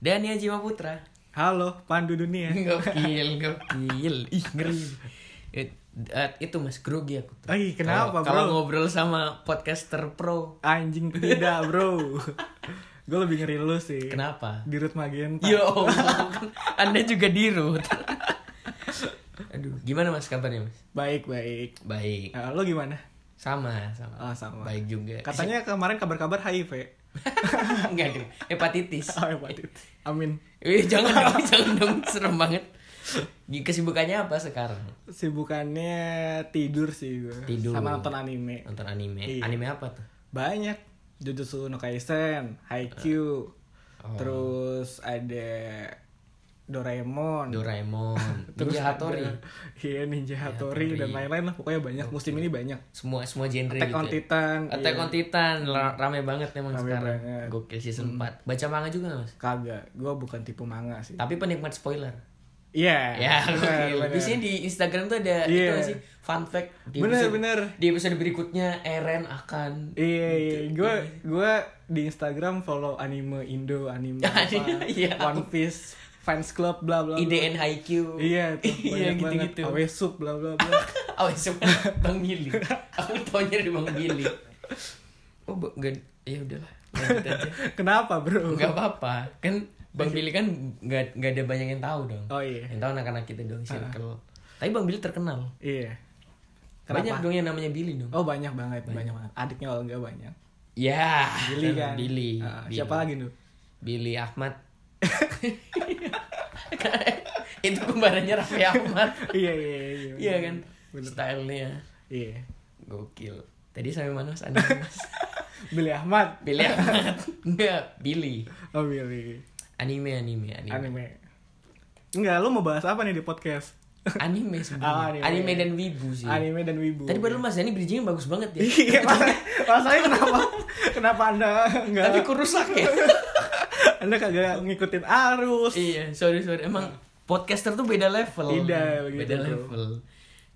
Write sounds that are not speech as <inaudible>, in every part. Dania ya, Jima <laughs> Putra. Halo, Pandu Dunia. Gokil, gokil. Ih, ngeri. It- eh, itu mas grogi aku. tuh. Ih, Kalau- kenapa, Kalau bro? ngobrol sama podcaster pro, Anjing tidak, <laughs> bro. Gue lebih ngeri lu sih. kenapa? Di Rut Magenta. Yo, <laughs> Anda juga dirut. <laughs> Aduh, gimana mas kabarnya mas? Baik, baik. Baik, Eh, lo gimana? sama, sama. Ah, sama. Baik juga. Katanya kemarin kabar-kabar HIV. <laughs> Enggak dong, hepatitis. Oh, hepatitis. Amin. Eh, jangan <laughs> dong, jangan dong, serem banget. Kesibukannya apa sekarang? Sibukannya tidur sih gue. Tidur. Eh. Sama nonton anime. Nonton anime. Iya. Anime apa tuh? Banyak. Jujutsu no Kaisen, Eh. Haikyuu. Oh. Terus ada Doraemon. Doraemon, Terus Ninja Hattori. ada- <laughs> Iya, Ninja Hattori dan lain-lain lah. Pokoknya banyak. Musim ini banyak. Semua semua genre Attack gitu on ya. Titan. iya. Attack on Titan ra- rame banget memang Rame sekarang. banget. Hmm. Gokil season 4. Baca manga juga nggak, Mas? Kagak, gue bukan tipe manga sih. Tapi penikmat spoiler. Iya. <laughs> Ya, bener, gokil. bener. Biasanya di Instagram tuh ada itu Iya. nggak sih fun fact. Di Bener, episode- bener. Di episode berikutnya Eren akan Iya, iya. Gitu. Gue gua di Instagram follow anime Indo, anime apa, <laughs> Iya. One Piece, fans club, bla bla. bla. IDN Haikyuu. Iya, <laughs> tuh, Iya, banyak banget. gitu-gitu. Awe sup, bla bla <laughs> bla. Awas Bang Billy. Aku taunya dari Bang Billy. Oh, ba- nggak ya udahlah. Lanjut aja. Kenapa bro? Enggak apa-apa. Kan Bang Billy kan nggak nggak ada banyak yang tahu dong. Oh iya, Yang tahu anak-anak kita dong circle. Tapi Bang Billy terkenal. iya. Banyak Kenapa? dong yang namanya Billy dong. Oh banyak banget, banyak, banget. Adiknya Olga banyak. Ya, Iya. Billy kan. Billy. Ah, Billy. siapa lagi tuh? Billy Ahmad. <laughs> itu kembarannya Raffi Ahmad. <laughs> iya, iya, iya. Iya kan? Bener. Stylenya Iya. gokil. Tadi sampai mana Mas Anda, <laughs> Mas? Billy Ahmad. Billy Ahmad. Enggak, Billy. Oh Billy. Anime anime anime. Anime, Anime. Enggak, lu mau bahas apa nih di podcast? <laughs> sebenarnya. Ah, anime. anime. dan wibu sih. Anime dan wibu. Iya. Tadi padahal Mas Dani bridgingnya bagus banget ya. <laughs> Iya, masa- masanya kenapa? kenapa Anda enggak Tapi kurusak ya. <laughs> Anda kagak ngikutin arus? iya, sorry sorry. Emang podcaster tuh beda level. Tidak, Ah. begitu, beda bro. level.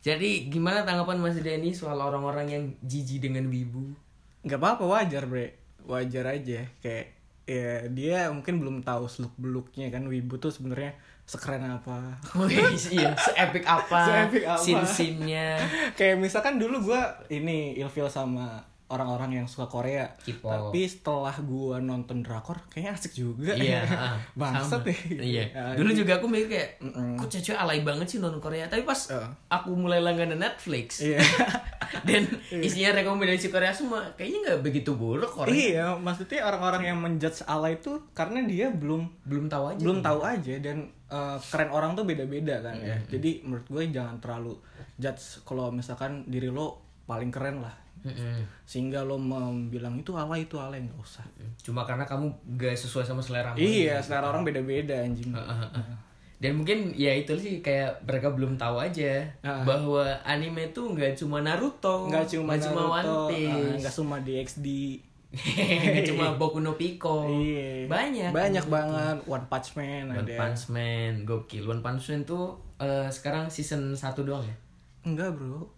Jadi gimana tanggapan Mas Dani soal orang-orang yang jijik dengan wibu? <laughs> Enggak apa-apa wajar, Bre. Wajar aja kayak ya dia mungkin belum tahu seluk beluknya kan wibu tuh sebenarnya sekeren apa <laughs> Wih, iya, seepik apa? Oh, Se-epic apa? Sin-sinnya. kayak misalkan dulu gua ini ilfil sama orang-orang yang suka Korea K-pop. tapi setelah gua nonton drakor kayaknya asik juga Iya, <laughs> ah, bangsat sama. deh Iya. Ah, Dulu juga aku mikir kayak, Mm-mm. kok cewek alay banget sih nonton Korea. Tapi pas Eh. aku mulai langganan Netflix <laughs> iya <laughs> dan isinya rekomendasi Korea semua, kayaknya nggak begitu buruk Korea. iya maksudnya orang-orang yang menjudge ala itu karena dia belum Belum tahu aja. belum tahu aja dan eh, keren orang tuh beda-beda kan ya. Jadi menurut gue jangan terlalu judge kalau misalkan diri lo paling keren lah. Mm-mm. Sehingga lo membilang itu alay itu alay nggak usah. Cuma karena kamu gak sesuai sama selera kamu. Iya, selera orang beda-beda anjing. Dan mungkin ya itu sih kayak mereka belum tahu aja Ah. bahwa anime tuh nggak cuma Naruto, Nggak cuma nggak Naruto, cuma One eh, Piece, nggak cuma DxD. <laughs> nggak <laughs> cuma Boku no Pico. Iya. Banyak. kan. Banyak banget One Punch Man Oh, One ada. Punch Man, gokil. One Punch Man tuh eh, sekarang season 1 doang ya? Enggak, Bro.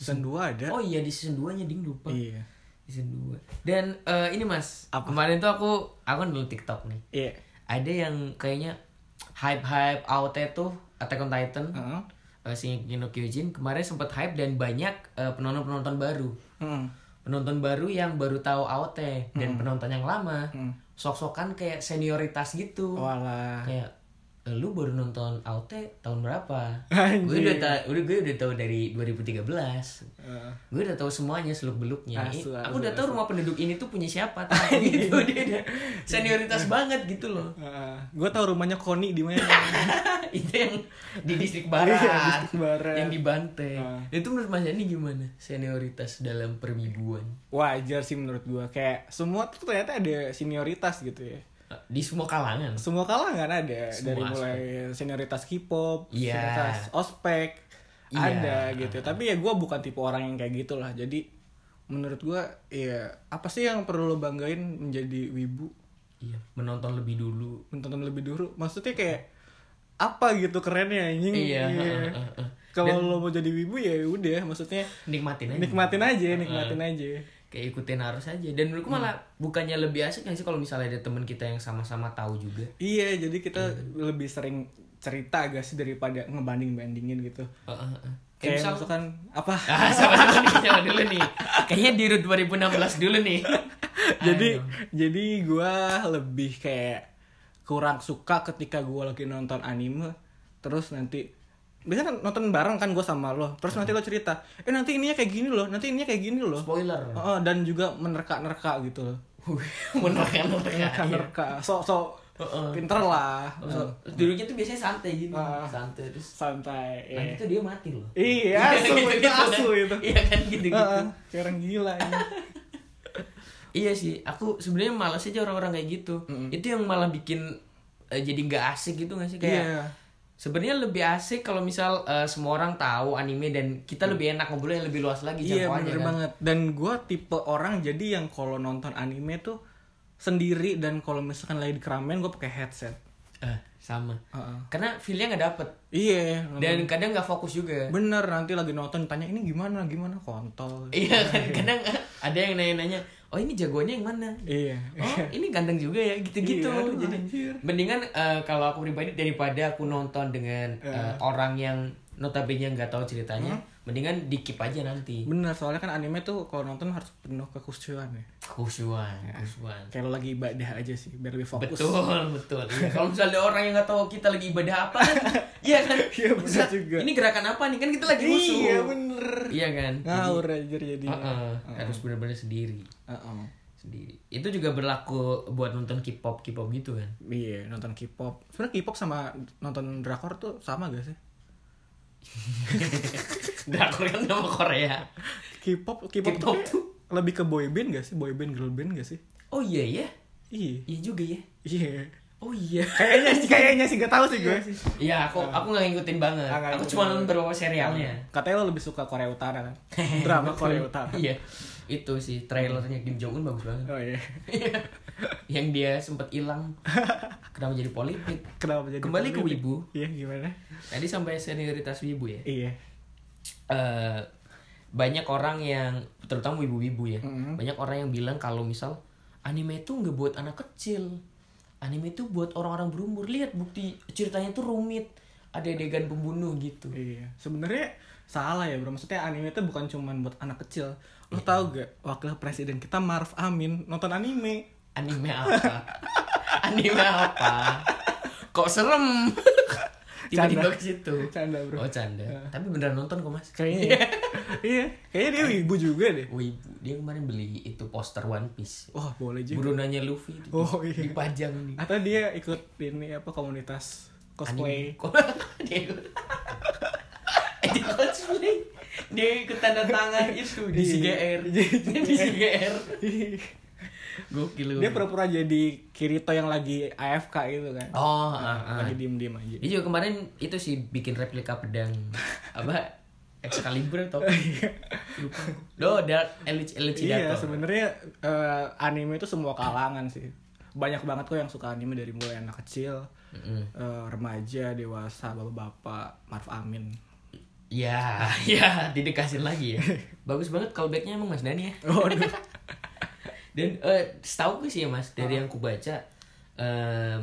Season 2 ada. Oh iya di season 2-nya ding lupa. Iya. Season 2. Dan eh, ini Mas, Apa? kemarin tuh aku aku kan dulu TikTok nih. Iya. Ada yang kayaknya hype-hype AOT tuh Attack on Titan. Heeh. eh, Shingeki no Kyojin kemarin sempat hype dan banyak eh, penonton-penonton baru. Heeh. Penonton baru yang baru tahu AOT dan penonton yang lama sok-sokan kayak senioritas gitu. Walah. kayak "Eh, lu baru nonton AOT tahun berapa? Anjing. Gue udah ta- udah gue udah tahu dari 2013. Eh, Gue udah tahu semuanya seluk beluknya. Asu, asu, aku udah tahu rumah penduduk ini tuh punya siapa. tahu gitu dia udah senioritas banget gitu loh. eh, gue tau rumahnya Koni di mana. <laughs> itu yang di distrik Iya, barat, distrik barat. yang di Banteng. Ah. Itu menurut Mas Yani gimana? Senioritas dalam perwibuan <laughs> wajar sih menurut gua kayak semua tuh ternyata ada senioritas gitu ya di semua kalangan. semua kalangan ada Semua dari mulai senioritas K-pop Iya. senioritas ospek Iya. ada gitu tapi ya gua bukan tipe orang yang kayak gitulah jadi menurut gua ya apa sih yang perlu lo banggain menjadi wibu Iya, menonton lebih dulu. menonton lebih dulu maksudnya kayak apa gitu kerennya anjing Iya. Iya. heeh, heeh, heeh. kalau lo mau jadi wibu ya udah maksudnya nikmatin aja nikmatin aja nikmatin aja kayak ikutin arus aja dan menurutku Hmm. malah bukannya lebih asik nggak sih kalau misalnya ada teman kita yang sama-sama tahu juga iya jadi kita lebih sering cerita gak sih daripada ngebanding bandingin gitu Heeh, heeh. kayak kayak misal <laughs> misalkan apa ah sama sama nih, sama dulu nih kayaknya di root 2016 dulu nih jadi jadi gue lebih kayak kurang suka ketika gue lagi nonton anime terus nanti biasanya kan nonton bareng kan gue sama lo terus nanti lo cerita eh nanti ininya kayak gini loh nanti ininya kayak gini loh <laughs> spoiler Heeh, dan juga menerka-nerka gitu loh menerka menerka menerka-nerka sok sok Ya, iya. Heeh. pinter lah Heeh. dulunya tuh biasanya santai gitu Ah. santai terus santai ya. nanti tuh dia mati loh iya asu itu Gitu-gitu asu kan. itu iya kan gitu gitu Heeh, kayak orang gila ini. Iya sih, aku sebenarnya malas aja orang-orang kayak gitu. Itu yang malah bikin eh, jadi nggak asik gitu nggak sih kayak. Iya. Sebenarnya lebih asik kalau misal eh, semua orang tahu anime dan kita lebih enak ngobrolnya lebih luas lagi Mm. Iya jangkauannya bener kan. banget Dan gue tipe orang jadi yang kalau nonton anime tuh Sendiri dan kalau misalkan lagi di keramaian gue pakai headset Eh, sama. Heeh. Karena feelnya nggak dapet Iya nonton- dan kadang nggak fokus juga. Bener nanti lagi nonton tanya ini gimana gimana kontol Iya <laughs> kan kadang eh, ada yang nanya-nanya, oh ini jagoannya yang mana? Iya <laughs> Oh ini ganteng juga ya gitu-gitu. Iya, aduh, Jadi anjir. mendingan eh, kalau aku pribadi daripada aku nonton dengan eh, Iya. orang yang notabene nggak tahu ceritanya, Hmm? mendingan dikip aja nanti. Bener soalnya kan anime tuh kalau nonton harus penuh kekhusyuan ya Kusuan, kusuan. Kayak lo lagi ibadah aja sih biar lebih Iya. fokus Betul, betul. Iya, Kalau misalnya ada orang yang nggak tahu kita lagi ibadah apa, <laughs> kan, iya kan? Iya, bener Ustaz, juga. Ini gerakan apa nih? Kan kita lagi musuh. Iya bener Nah, iya. Iya kan? Ngawur aja jadi Heeh, harus benar-benar sendiri, Heeh. sendiri. Itu juga berlaku buat nonton K-pop, K-pop gitu <laughs> kan? Iya nonton K-pop Sebenernya K-pop sama nonton drakor tuh sama gak sih? Drakor kan nama Korea. K-pop K-pop K-pop tuh tuh. lebih ke boy band gak sih? Boy band girl band gak sih? Oh iya ya, Iya. iya juga ya. Iya. Oh iya. <laughs> Kayaknya sih kayaknya sih gak tahu sih gue. Iya, aku aku nggak ngikutin banget. Ah, Nah. nggak aku ngikutin cuma banget. nonton beberapa serialnya. Katanya lo lebih suka Korea <laughs> Utara kan? Drama Korea Utara. Iya. Itu sih trailernya Kim Jong Un bagus banget. <laughs> Oh iya. yang dia sempat hilang kenapa jadi politik Kenapa jadi Kembali ke politik? Wibu. Iya gimana? tadi sampai senioritas wibu ya Iya. Eh, banyak orang yang terutama wibu-wibu ya Mm-mm. banyak orang yang bilang kalau misal anime itu nggak buat anak kecil anime itu buat orang-orang berumur lihat bukti ceritanya tuh rumit ada adegan pembunuh gitu Iya. Sebenarnya salah ya bro. Maksudnya anime itu bukan cuma buat anak kecil. Lo tau gak wakil presiden kita Maruf Amin nonton anime? anime apa <laughs> anime apa kok <laughs> serem tiba-tiba Canda. ke situ Canda bro. oh canda tapi beneran nonton kok mas Kayaknya. iya. ya. <laughs> iya. Kayaknya dia Wibu juga deh. Wibu dia kemarin beli itu poster One Piece. Wah boleh juga. Burunanya Luffy itu Oh, iya. dipajang nih. Atau dia ikut ini apa komunitas Anime. cosplay? Kok- <laughs> dia ikut. Eh, dia cosplay. Dia ikut tanda <laughs> tangan itu di Iya. CGR. di CGR. <laughs> Gokil lu. dia pura-pura jadi Kirito yang lagi AFK itu kan. Oh, ah, ah. Lagi diem-diem aja. Dia juga kemarin itu sih bikin replika pedang apa Excalibur atau lupa. Lo Dark Elite Elite Iya, sebenarnya eh, anime itu semua kalangan sih. Banyak banget kok yang suka anime dari mulai anak kecil, eh, remaja, dewasa, bapak-bapak, Maruf <laughs> Amin. Ya, ya, didekasin lagi ya. Bagus banget callbacknya emang Mas Dani ya. Waduh. Dan eh setahu gue sih ya Mas, dari yang ku baca eh,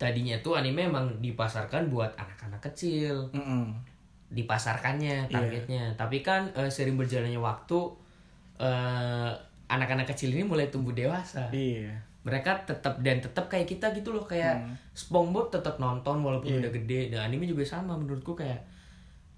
tadinya tuh anime emang dipasarkan buat anak-anak kecil, Mm-mm. dipasarkannya targetnya. Tapi kan eh, sering berjalannya waktu eh anak-anak kecil ini mulai tumbuh dewasa. Iya. Mereka tetap dan tetap kayak kita gitu loh, kayak SpongeBob tetap nonton walaupun udah gede. Dan anime juga sama menurutku kayak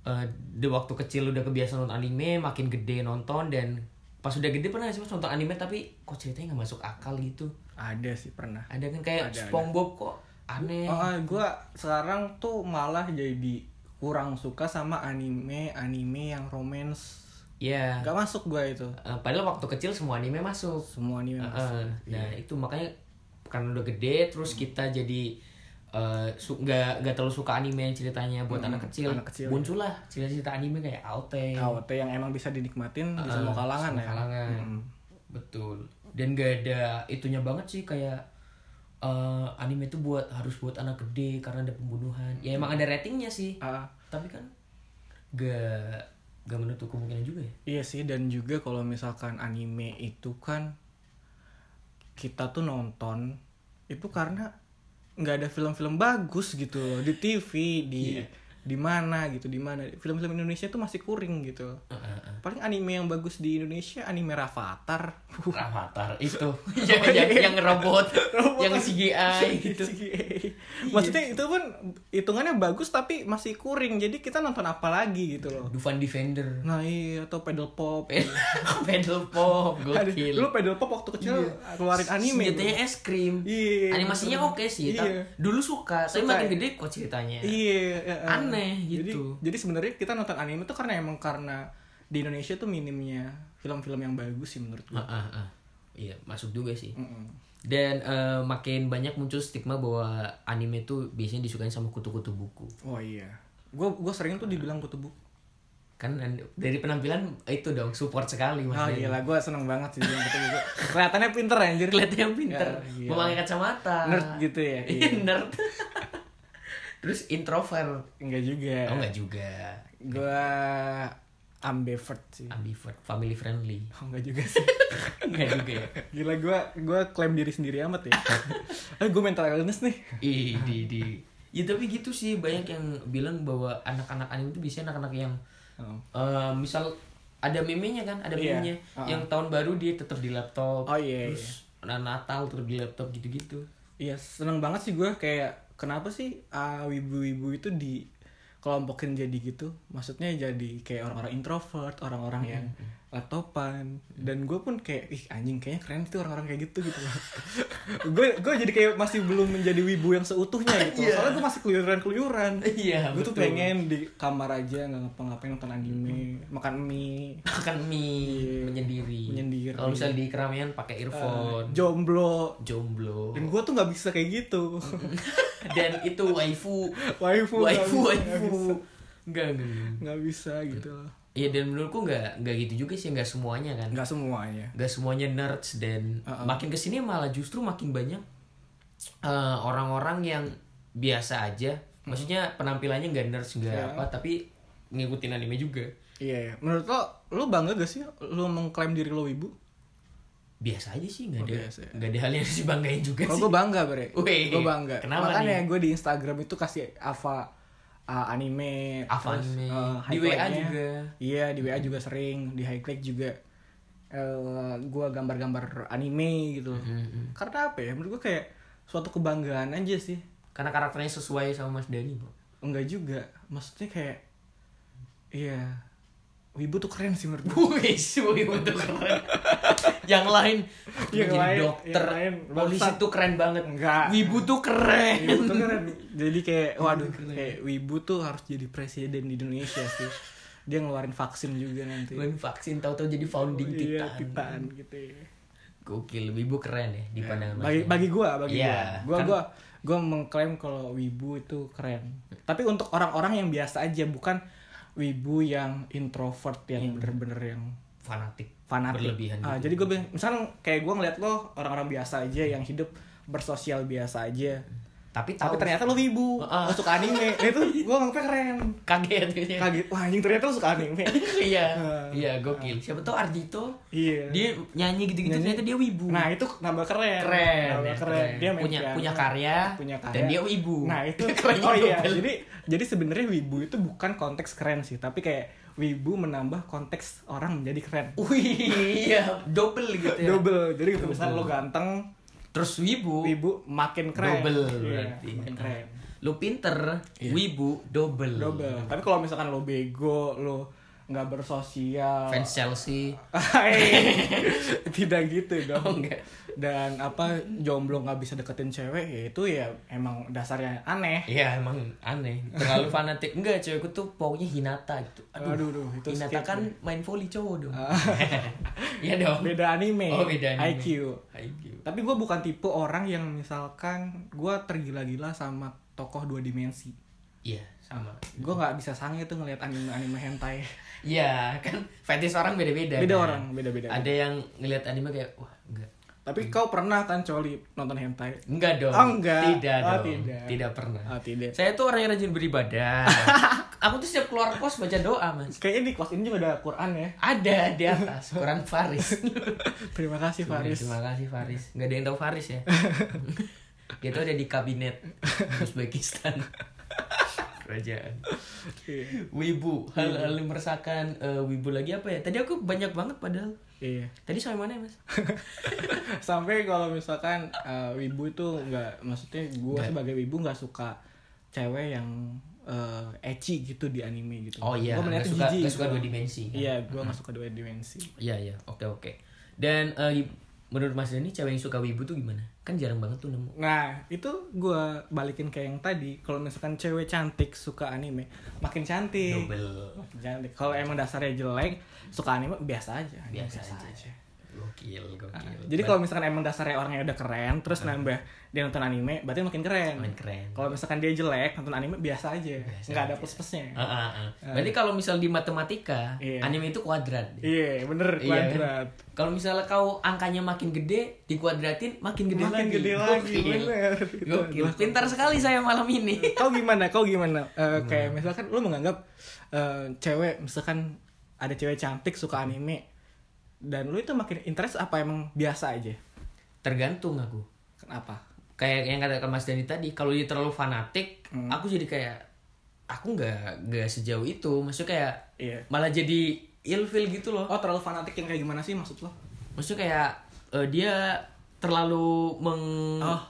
eh, di waktu kecil udah kebiasaan nonton anime, makin gede nonton dan pas udah gede pernah nggak sih Mas nonton anime tapi kok ceritanya nggak masuk akal gitu. Ada sih pernah. Ada kan kayak SpongeBob kok aneh. Oh, gue sekarang tuh malah jadi kurang suka sama anime-anime yang romance. Ya. Gak masuk gue itu. Eh, padahal waktu kecil semua anime masuk. Semua anime Heeh. masuk. nah iya. itu makanya karena udah gede terus Hmm. kita jadi eh, su- nggak nggak terlalu suka anime yang ceritanya buat anak kecil, Hmm, anak kecil, iya. muncullah cerita-cerita anime kayak Aote, KOT yang emang bisa dinikmatin di eh, semua kalangan semua ya. kalangan. betul dan gak ada itunya banget sih kayak eh, anime itu buat harus buat anak gede karena ada pembunuhan ya emang ada ratingnya sih Ah, tapi kan gak gak menutup kemungkinan juga ya Iya sih dan juga kalau misalkan anime itu kan kita tuh nonton itu karena nggak ada film-film bagus gitu loh di TV di Iya. di mana gitu di mana film-film Indonesia tuh masih kuring gitu paling anime yang bagus di Indonesia anime Rafathar Avatar <laughs> itu Iya, yang, yang, yang robot, yang <laughs> CGI gitu. maksudnya itu pun hitungannya bagus tapi masih kuring jadi kita nonton apa lagi gitu Oh, loh Dufan Defender, <laughs> nah iya atau pedal pop pedal pop, Eh, Ada- gokil. Iya. Lu pedal pop waktu kecil keluarin anime. lu. Senjatanya es krim. Iya. Animasinya oke sih, Iya. tapi ya dulu suka, tapi Suka makin ya? gede kok ceritanya. Iya. ya, eh. Aneh Jadi, gitu. jadi sebenarnya kita nonton anime tuh karena emang karena di Indonesia tuh minimnya film-film yang bagus sih menurut gua. Ah, ah, ah. Iya, masuk juga sih. Mm-mm. Dan eh, makin banyak muncul stigma bahwa anime tuh biasanya disukain sama kutu-kutu buku. Oh iya. Gua gua sering tuh dibilang kutu buku. Kan an- dari penampilan itu dong support sekali Mas. Ah Denny. gila, gua seneng banget sih bilang kutu buku. Kelihatannya pinter anjir. Kelihatannya pinter, Ya, gila. memakai kacamata. Nerd gitu ya. <laughs> Iya, Iya. nerd. Terus introvert. Enggak juga. Oh enggak juga. Gua ambivert <laughs> sih. Ambivert, family friendly. Oh, enggak juga sih. Enggak juga ya. Gila gua gua klaim diri sendiri amat ya. Eh gua mental illness nih. <laughs> Ih, di di. Ya tapi gitu sih banyak yang bilang bahwa anak-anak anime itu biasanya anak-anak yang Oh. eh, misal ada meme-nya kan, ada Iya, meme-nya uh-uh. yang tahun baru dia tetap di laptop. Oh, iya, Terus nah, Natal tetap di laptop <laughs> gitu-gitu. Iya seneng banget sih gue kayak kenapa sih ah, wibu-wibu itu di kelompokin jadi gitu maksudnya jadi kayak orang-orang introvert orang-orang yang Mm-hmm. laptopan dan gue pun kayak ih anjing kayaknya keren itu orang-orang kayak gitu <laughs> gitu gue gue jadi kayak masih belum menjadi wibu yang seutuhnya gitu Iya. soalnya gue masih keluyuran-keluyuran Iya, gue tuh betul. pengen di kamar aja nggak ngapa-ngapain nonton anime Mm-hmm. makan mie Makan mie menyendiri. Iya, Menyendiri. Kalau misal di keramaian pakai eh, earphone, jomblo <laughs> jomblo. dan gue tuh nggak bisa kayak gitu Dan itu waifu. <laughs> waifu Mm-hmm. nggak waifu, waifu. bisa, nggak bisa. Enggak, enggak. enggak. nggak bisa gitu loh Iya, dan menurutku enggak enggak gitu juga sih, enggak semuanya kan. nggak semuanya gak semuanya nerds dan Uh-uh. makin kesini malah justru makin banyak eh, orang-orang yang biasa aja Hmm. maksudnya penampilannya nggak nerds nggak Ya. apa tapi ngikutin anime juga iya iya. menurut lo lo bangga gak sih lo mengklaim diri lo ibu biasa aja sih nggak ada Oh, biasa ya. nggak ada hal yang <laughs> harus dibanggain juga kalau Eh, sih gue bangga bre Wih, gue bangga kenapa makanya nih? gue di Instagram itu kasih apa uh, anime Apa terus, anime. uh, Di WA highlightnya. juga. iya di WA juga sering di highlight juga eh gue gambar-gambar anime gitu Mm-hmm, karena apa ya menurut gue kayak suatu kebanggaan aja sih karena karakternya sesuai sama Mas Dani Bro. <laughs> enggak juga maksudnya kayak iya Wibu tuh keren sih menurut gue Wih, wih, untuk keren. <laughs> yang lain, jadi Yang lain, dokter, yang lain, polisi bangsat. tuh keren banget. Enggak. Wibu tuh keren. Wibu tuh keren. kan Jadi kayak waduh kayak Wibu tuh harus jadi presiden di Indonesia sih. Dia ngeluarin vaksin juga nanti. Main vaksin tahu-tahu jadi founding Iya, titan. titan Iya, Iya. gitu ya. Gokil, Wibu keren ya di pandangan Mas Bagi Dani. bagi gua, bagi Iya, gua. Gua kan- gua gua mengklaim kalau Wibu itu keren. Tapi untuk orang-orang yang biasa aja bukan Wibu yang introvert yang bener-bener yang fanatik, fanatik. Iya. berlebihan Ah, gitu. jadi gue bilang, misalnya kayak gua ngeliat lo orang-orang biasa aja yang hidup bersosial biasa aja. Tapi Hmm. tahu Tapi ternyata lo wibu, Ah. lo suka anime. Nah, itu gua nganggapnya keren. kaget gitu. kaget wah anjing ternyata lu suka <laughs> anime Iya. Ah. Iya, gokil. Siapa tahu Ardito iya dia nyanyi gitu-gitu Nyanyi. ternyata dia wibu. nah itu nambah keren keren, nambah ya, keren. dia main punya piano. punya karya, punya karya dan dia wibu. <laughs> nah itu keren oh iya jadi jadi sebenarnya wibu itu bukan konteks keren sih tapi kayak wibu menambah konteks orang menjadi keren Wih, iya, double gitu ya. double jadi gitu misalnya lo ganteng Terus wibu, wibu makin keren double Iya, berarti. makin keren Lu pinter, wibu double. Iya. double tapi kalau misalkan lo bego lo nggak bersosial Fans Chelsea. Hai. <laughs> tidak gitu dong Oh, enggak. dan apa jomblo nggak bisa deketin cewek ya itu ya emang dasarnya aneh Iya emang aneh terlalu fanatik enggak cewekku tuh pokoknya Hinata gitu aduh, Aduh, aduh, itu Hinata skip kan main volley cowok dong <laughs> Iya dong gitu. beda anime oh beda anime. IQ IQ tapi gue bukan tipe orang yang misalkan gue tergila-gila sama tokoh dua dimensi iya sama gue nggak bisa sange tuh ngelihat anime anime hentai iya kan fetish orang beda beda beda orang beda beda ada yang ngelihat anime kayak wah enggak tapi kau pernah kan coli nonton hentai enggak dong Oh, enggak. tidak Oh, dong tidak. pernah ah tidak <laughs> saya tuh orang yang rajin beribadah aku tuh setiap keluar kos baca doa mas Kayaknya di kelas ini juga ada Quran ya. ada di atas Quran <laughs> Faris Terima kasih Faris. terima kasih Faris nggak ada yang tahu Faris <laughs> ya dia tuh ada di kabinet Uzbekistan kerajaan Iya. Wibu hal-hal yang meresahkan Eh, Wibu lagi apa ya tadi aku banyak banget padahal Iya. tadi sampai mana ya, mas <laughs> Sampai kalau misalkan eh, wibu itu nggak maksudnya gue sebagai wibu nggak suka cewek yang eh, ecchi gitu di anime gitu. oh iya Gua nggak melihatnya suka jijik nggak suka gitu. dua dimensi kan? Iya, gue nggak suka dua dimensi. Iya iya, oke oke. Dan eh, menurut Mas ini cewek yang suka wibu tuh gimana? Kan jarang banget tuh nemu. Nah, itu gue balikin kayak yang tadi. Kalau misalkan cewek cantik suka anime, makin cantik. Makin cantik. Kalau emang dasarnya jelek, suka anime biasa aja. Biasa aja. Iya, Gokil, gokil. Jadi kalau misalkan emang dasarnya orangnya udah keren, terus nambah dia nonton anime, berarti makin keren. Nah. Makin keren. Kalau misalkan dia jelek, nonton anime biasa aja. Biasa Nggak ada aja. plus-plusnya. Ah, ah, ah. Berarti kalau misal di matematika, Iya. anime itu kuadrat. Iya, bener Iya, kuadrat. Kalau misalnya kau angkanya makin gede, dikuadratin makin gede Makin lagi. gede lagi, Gokil. bener. Itu Gokil. Pintar sekali saya malam ini. Kau gimana? Kau gimana? Eh, kayak misalkan lu menganggap eh, cewek misalkan ada cewek cantik suka anime dan lu itu makin interest apa emang biasa aja? Tergantung aku. Kenapa? kayak yang kata Mas Dani tadi kalau dia terlalu fanatik Hmm. aku jadi kayak aku nggak nggak sejauh itu maksudnya kayak Iya. malah jadi ilfil gitu loh Oh, terlalu fanatik yang kayak gimana sih maksud lo? maksudnya kayak eh, dia terlalu meng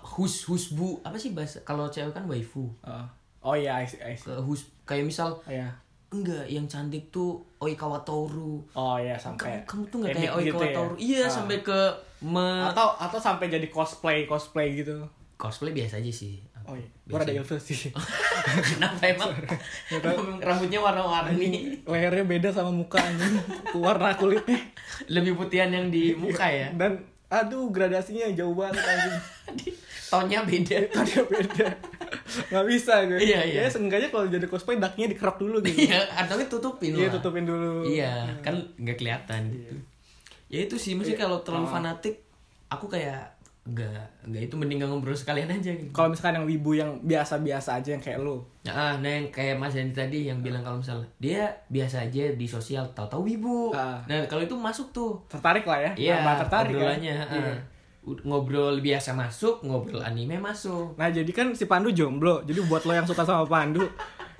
hus husbu apa sih bahasa kalau cewek kan waifu Eh, oh iya, I see, I see. Ke hus kayak misal Oh, iya. enggak yang cantik tuh oi kawatoru Oh iya sampai kamu, kamu tuh nggak edik kayak oi gitu ya? kawatoru iya Ah. sampai ke me- atau atau sampai jadi cosplay cosplay gitu. cosplay biasa aja sih Oh iya. Gue ada ilfil <laughs> sih. Oh kenapa emang <laughs> rambutnya warna-warni Lehernya beda sama muka <laughs> anjing. Warna kulitnya. lebih putihan yang di muka ya Dan aduh gradasinya jauh banget anjing. <laughs> tonnya beda Tadi beda. Nggak bisa gue. Iya, iya. Ya seenggaknya kalau jadi cosplay darknya dikerap dulu gitu. iya atau ditutupin Iya lah. tutupin dulu. iya kan nggak kelihatan gitu ya itu sih mesti Iya. kalau Oh. terlalu fanatik aku kayak nggak nggak itu mending nggak ngobrol sekalian aja gitu Kalau misalkan yang wibu yang biasa-biasa aja yang kayak lu. nah, ah, nah yang kayak Mas Dani tadi yang Ah. bilang kalau misalnya dia biasa aja di sosial tahu-tahu wibu Ah. nah kalau itu masuk tuh Tertarik lah ya. iya Nambah tertarik ya. obrolannya ah. Iya. Ud- ngobrol biasa masuk ngobrol anime masuk Nah jadi kan si Pandu jomblo Jadi buat lo yang suka sama Pandu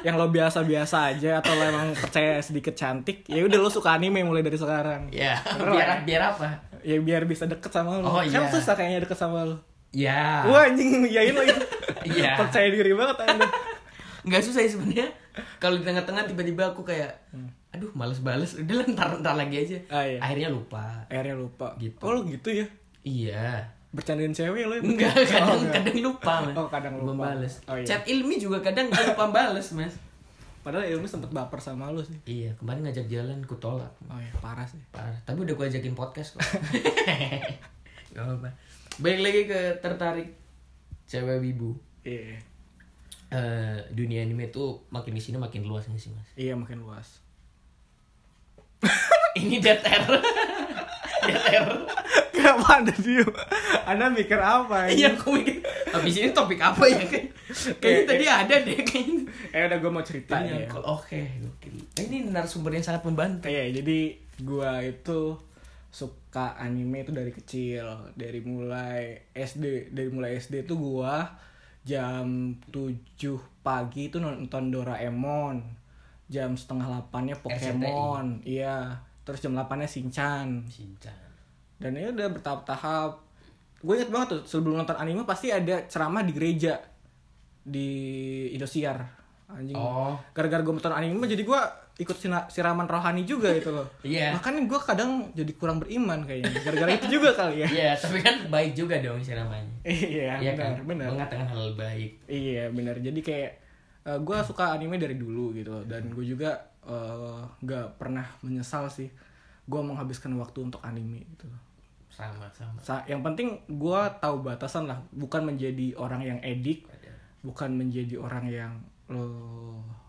Yang lo biasa-biasa aja Atau lo emang percaya sedikit cantik ya udah lo suka anime mulai dari sekarang ya Bener <laughs> biar lah biar apa Ya biar bisa deket sama lo Oh, Kan iya. susah kayaknya deket sama lo ya Wah anjing yain <laughs> lagi Iya. Percaya diri banget anda nggak susah ya sebenarnya kalau di tengah-tengah tiba-tiba aku kayak aduh males bales udah lah, ntar ntar lagi aja Hmm. Ah, iya. akhirnya lupa Akhirnya lupa Gitu. Oh lo gitu ya iya Bercandain cewek lo ya enggak kadang kadang lupa mas Oh, kadang lupa. bales Oh, iya. chat ilmi juga kadang aku lupa bales mas Padahal ilmu sempet baper sama lo sih iya kemarin ngajak jalan ku tolak Oh ya parah sih parah tapi udah gua ajakin podcast kok <laughs> nggak apa balik lagi ke tertarik cewek wibu Iya Eh, dunia anime tuh makin di sini makin luas nggak sih mas Iya makin <laughs> luas <laughs> ini dead air dead air Kenapa anda diem? Anda mikir apa anjing? Iya, aku mikir habis ini topik apa <laughs> ya kan? Kayaknya Kayak- tadi ada deh kayaknya. Eh udah gue mau cerita Tanya nih ya. call. Oke, gokil. Nah, Ini narasumber yang sangat membantu. Iya, jadi gua itu suka anime itu dari kecil, dari mulai SD, dari mulai SD itu gua jam 7 pagi itu nonton Doraemon. Jam setengah 8-nya Pokemon. Iya, terus jam 8-nya Shinchan. Cinta. Dan ini udah bertahap-tahap. Gue inget banget tuh sebelum nonton anime pasti ada ceramah di gereja di Indosiar. Anjing Oh, gara-gara gue nonton anime jadi gue ikut sina- siraman rohani juga itu loh <laughs> Iya. makanya gue kadang jadi kurang beriman kayaknya gara-gara itu juga kali ya <laughs> iya, tapi kan baik juga dong siramannya. iya Iya benar kan? benar Mengatakan hal baik. iya benar jadi kayak gue suka anime dari dulu gitu loh dan gue juga eh, nggak pernah menyesal sih gue menghabiskan waktu untuk anime gitu loh. Sama, sama. Sa- yang penting gue tahu batasan lah bukan menjadi orang yang edik bukan menjadi orang yang lo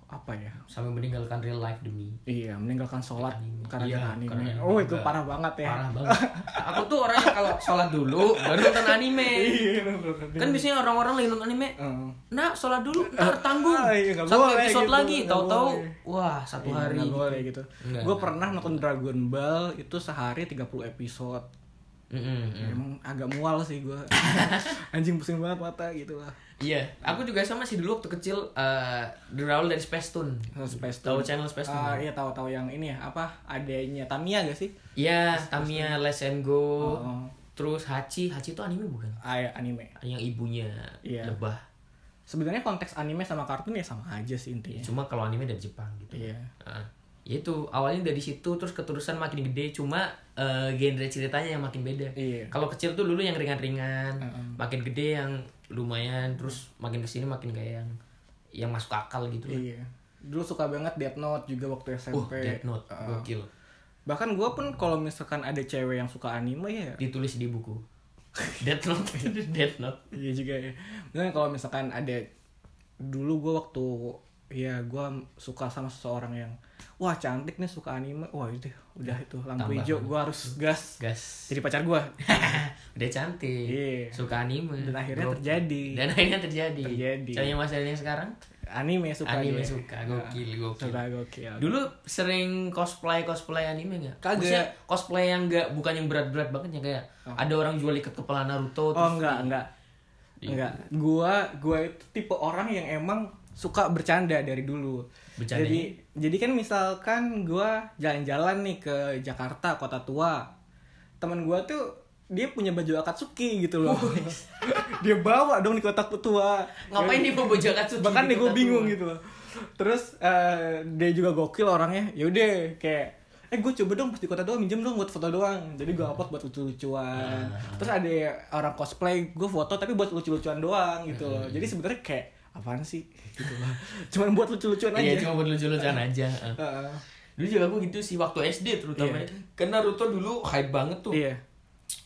apa ya sampai meninggalkan real life demi iya meninggalkan sholat Anime. karena Iya, anime karena oh anime. itu parah banget ya parah banget aku tuh orangnya kalau sholat <laughs> dulu baru nonton anime iya nonton kan biasanya orang-orang lagi nonton anime Heeh. nah sholat dulu <laughs> ntar tanggung Ah, iya, nggak satu boleh episode gitu, lagi nggak tahu-tahu boleh. wah satu Iya, hari nggak boleh gitu Nggak, gue nggak. pernah nonton Dragon Ball itu sehari 30 episode Mm-mm, mm. emang agak mual sih <laughs> gue anjing pusing banget mata gitu lah iya aku juga sama sih dulu waktu kecil eh berawal dari Space Tune Space tahu Tune. channel Space Ah, Tune iya tahu-tahu yang ini ya apa adanya Tamiya gak sih Iya, Tamiya, Let's and Go, Oh. terus Hachi, Hachi itu anime bukan? Ah, ya, anime Yang ibunya Iya. lebah. sebenarnya konteks anime sama kartun ya sama aja Ya, sih intinya Cuma kalau anime dari Jepang gitu. iya Ah, ya itu awalnya dari situ terus keterusan makin gede cuma eh, genre ceritanya yang makin beda. Iya. Kalau kecil tuh dulu yang ringan-ringan, Mm-mm. makin gede yang lumayan, terus makin kesini makin kayak yang yang masuk akal gitu. lah. iya dulu suka banget Death Note juga waktu SMP Uh, Death Note, Ah. gokil. bahkan gue pun kalau misalkan ada cewek yang suka anime ya <laughs> Ditulis di buku. <laughs> Death Note, <laughs> Death Note. Iya juga ya. Nah, kalau misalkan ada dulu gue waktu ya gue suka sama seseorang yang wah cantik nih suka anime wah itu udah itu lampu Tambah. hijau gue harus gas Gas. <coughs> jadi pacar <laughs> gue Udah cantik, Iya. suka anime. dan akhirnya Bro. terjadi Dan akhirnya terjadi. Terjadi. Caranya Mas Daniel sekarang? anime suka anime dia. suka, gokil, gokil. suka gokil Dulu sering cosplay cosplay anime nggak? Kagak. Maksudnya cosplay yang nggak bukan yang berat-berat banget ya kayak ada orang jual ikat kepala Naruto. oh terus- enggak enggak enggak gue gue itu tipe orang yang emang suka bercanda dari dulu Bercandanya? jadi jadi kan misalkan gue jalan-jalan nih ke Jakarta kota tua teman gue tuh dia punya baju akatsuki gitu loh <laughs> dia bawa dong di kotak tua Ngapain dia mau bojol katsu? bahkan nih gue bingung gitu loh terus eh, dia juga gokil orangnya yaudah kayak eh gue coba dong pas di kota doang minjem dong buat foto doang jadi gue upload buat lucu-lucuan terus ada orang cosplay gue foto tapi buat lucu-lucuan doang gitu loh jadi sebenarnya kayak apaan sih gitu loh <laughs> cuman buat lucu-lucuan Iya aja cuma buat lucu-lucuan aja. Eh. Heeh. Dulu juga aku gitu sih waktu SD terutama. Iya. Karena Naruto dulu hype banget tuh. iya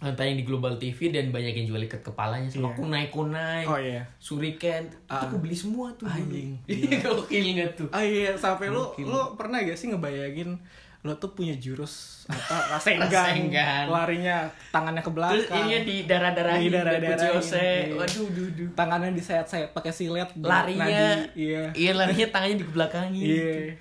Entah yang di Global TV dan banyak yang jual ikat kepalanya sama Iya. kunai-kunai. oh iya Suriken, itu Ah. aku beli semua tuh. <laughs> Anjing. Iya, gokil nggak tuh? ah iya sampai lu lu pernah gak sih ngebayangin lo tuh punya jurus apa <laughs> rasengan iya, Rasengan. larinya tangannya ke belakang Terus ininya di darah-darahin, Di darah-darahin, Kuchiose. iya. Waduh, duh, duh. tangannya disayat-sayat pakai silet di Larinya, nadi. iya iya larinya tangannya dikebelakangin. iya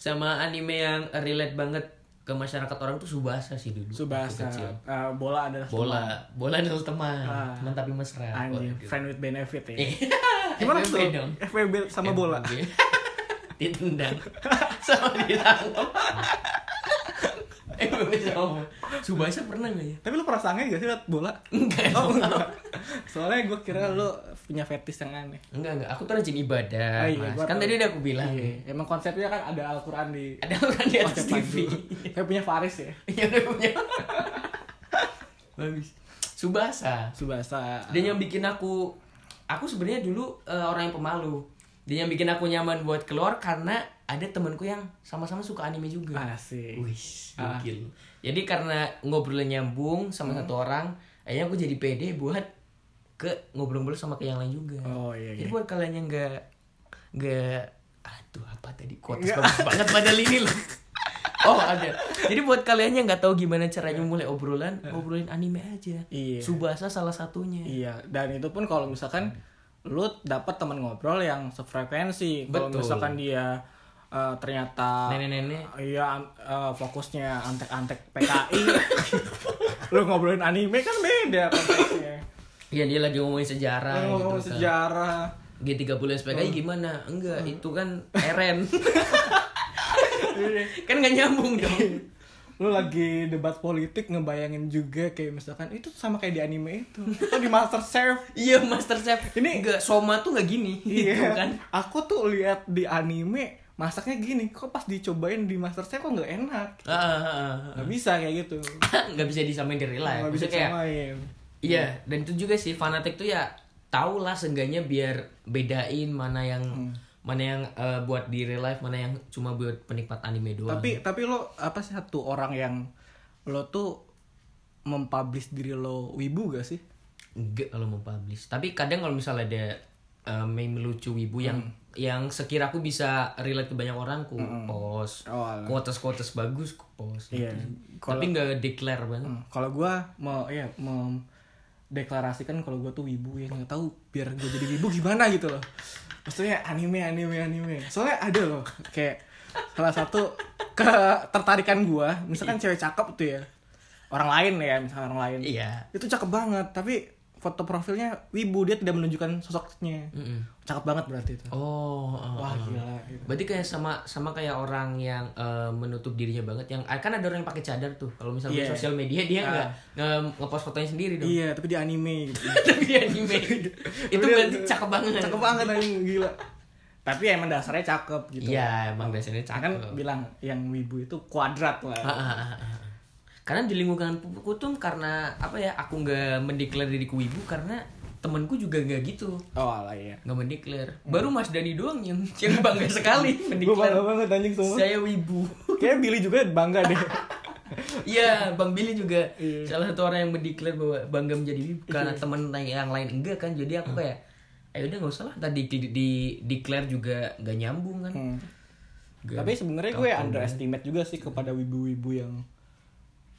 Sama anime yang relate banget ke masyarakat orang tuh Subasa sih dulu. subasa waktu kecil. Eh, bola adalah Bola, bola adalah teman, Ah. teman tapi mesra. teman. anjir Waduh. friend with benefit ya Eh, gimana FWB tuh dong. FWB sama bola FWB. <laughs> <laughs> Ditendang sama ditangkap. Eh, sama. Subasa pernah gak ya? tapi lu pernah sange gak sih liat bola Enggak. oh enggak soalnya gue kira lu punya fetish yang aneh Enggak, enggak. Aku tuh rajin ibadah, Oh, iya, Mas. gua Kan tahu. tadi udah aku bilang. Iya, emang konsepnya kan ada Al-Quran di Ada orang di atas konsep TV. pandu. saya punya Faris ya <laughs> Yang udah punya. Bagus. Subasa. subasa Dia yang bikin aku aku sebenarnya dulu eh, orang yang pemalu. Dia yang bikin aku nyaman buat keluar karena ada temanku yang sama-sama suka anime juga. asik Wih, Ah. Hmm. gokil. Jadi karena ngobrolnya nyambung sama satu orang, akhirnya aku jadi pede buat ke ngobrol-ngobrol sama ke yang lain juga. Oh, iya, Jadi iya. buat kalian yang nggak nggak aduh apa tadi kuotas bagus banget padahal ini <laughs> loh. Oh ada. Jadi buat kalian yang nggak tahu gimana caranya mulai obrolan, ngobrolin anime aja. Iya. Subasa salah satunya. Iya, dan itu pun kalau misalkan lu dapat teman ngobrol yang sefrekuensi. Kalau Betul. misalkan dia eh, ternyata Nenek-nenek. Iya, an- eh, fokusnya antek-antek PKI. <laughs> lu ngobrolin anime kan beda konteksnya. Iya dia lagi ngomongin sejarah. Lu gitu, ngomong kan. sejarah. G30 Oh. SPKI gimana? Enggak, itu kan <laughs> Eren. kan nggak nyambung dong. Lu lagi debat politik ngebayangin juga kayak misalkan itu sama kayak di anime itu. Atau di Master Chef. Iya Master Chef. Ini- enggak Soma tuh nggak gini, <laughs> gitu kan? Iya. Aku tuh lihat di anime masaknya gini, kok pas dicobain di Master Chef kok nggak enak. Ah, ah, ah, ah. nggak bisa kayak gitu <laughs> nggak bisa disamain dari live. nggak bisa Maksudnya kayak, samain Iya, dan itu juga sih fanatik tuh ya tau lah seenggaknya biar bedain mana yang Hmm. mana yang eh, buat di real life, mana yang cuma buat penikmat anime doang. tapi tapi lo apa sih satu orang yang lo tuh mempublish diri lo wibu gak sih Hmm. enggak kalau mau publish. Tapi kadang kalau misalnya ada eh, meme lucu wibu yang yang sekira aku bisa relate ke banyak orang ku Mm-mm. post Oh, alah. quotes quotes bagus ku post Iya. gitu. Kalau- tapi nggak declare banget Hmm, kalau gua mau ya mau deklarasikan kalau gua tuh wibu ya nggak tahu biar gua jadi wibu gimana gitu loh maksudnya anime anime anime soalnya ada loh kayak salah satu ketertarikan gua misalkan cewek cakep tuh ya orang lain ya misalkan orang lain iya itu cakep banget tapi foto profilnya wibu dia tidak menunjukkan sosoknya Mm-mm. cakep banget berarti itu oh uh, uh. wah gila gitu. berarti kayak sama sama kayak orang yang eh, menutup dirinya banget yang ah, kan ada orang yang pakai cadar tuh kalau misalnya di Iya. sosial media dia Ah. nggak nge- ngepost fotonya sendiri dong iya tapi di anime gitu <laughs> tapi di <laughs> anime itu berarti cakep banget cakep banget anjing gila tapi ya emang dasarnya cakep gitu Iya, emang biasanya cakep. kan bilang yang wibu itu kuadrat Ah, lah ah, ah, ah. karena di lingkungan pupuku tuh karena apa ya aku nggak mendeklar diriku ibu karena temanku juga nggak gitu oh lah ya nggak mendeklar baru Mas Dani doang yang yang bangga <laughs> sekali gue bangga mendeklar banget anjing semua saya wibu kayaknya Billy juga bangga deh <laughs> Iya, Bang Billy juga Iya. salah satu orang yang mendeklar bahwa bangga menjadi wibu <laughs> karena teman yang lain enggak kan. Jadi aku kayak ayo udah nggak usah lah tadi di, di- declare juga nggak nyambung kan. Hmm. Nggak tapi sebenarnya gue underestimate juga sih kepada wibu-wibu yang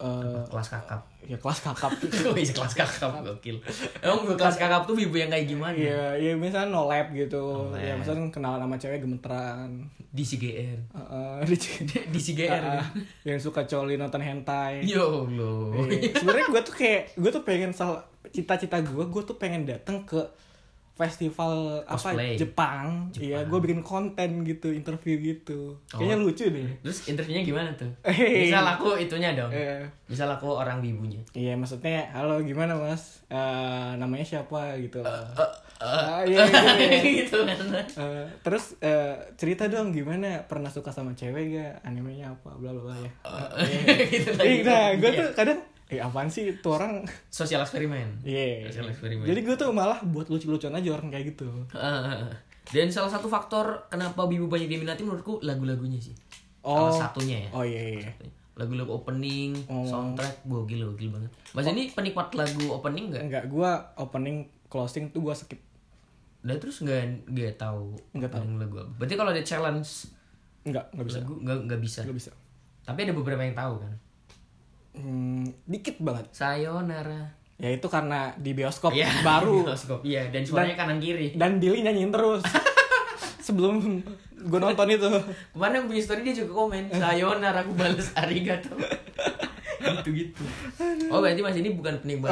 eh kelas kakap. <laughs> ya kelas kakap Wih, kelas kakap <laughs> gokil. Emang gue kelas kakap tuh wibu yang kayak gimana? Iya, ya misalnya no lab gitu. No Ya lab. misalnya kenalan sama cewek gemeteran. Di CGR. Heeh, <laughs> di- <laughs> Di CGR. Ah, ah, yang suka coli nonton hentai. Yo lo. Iya. sebenarnya gue tuh kayak gue tuh pengen salah cita-cita gue gue tuh pengen datang ke festival Cosplay. apa Jepang, iya gue bikin konten gitu interview gitu Oh. kayaknya lucu deh <laughs> Terus interviewnya gimana tuh? Hey. Misal aku itunya dong. Eh, Misal aku orang wibunya. iya maksudnya halo gimana mas Eh, namanya siapa gitu Eh, Ah, iya, iya, iya. <laughs> gitu kan. Eh, terus eh, cerita dong gimana pernah suka sama cewek gak animenya apa bla bla bla ya <laughs> gitu Eh, nah gue tuh kadang eh apaan sih itu orang sosial eksperimen. Iya. Sosial eksperimen. Jadi gue tuh malah buat lucu-lucuan aja orang kayak gitu. Heeh. Eh, dan salah satu faktor kenapa Bibu banyak diminati menurutku lagu-lagunya sih. Oh. Salah satunya ya. Oh iya iya. Lagu-lagu opening, soundtrack, wah gila gila banget. Mas ini penikmat lagu opening nggak? Enggak, gue opening closing tuh gue skip. Udah terus nggak nggak tahu Nggak tahu. opening lagu apa. Berarti kalau ada challenge Enggak, enggak bisa. lagu nggak nggak bisa. Enggak bisa. Tapi ada beberapa yang tahu kan. Hmm, dikit banget. Sayonara. Ya itu karena di bioskop Iya, Oh, <laughs> <laughs> baru bioskop. Iya, dan suaranya kanan kiri. dan Billy nyanyiin terus. Sebelum gue nonton itu. Kemarin aku punya story dia juga komen Eh. Sayonara aku bales <laughs> arigato Gitu-gitu Oh berarti mas ini bukan penikmat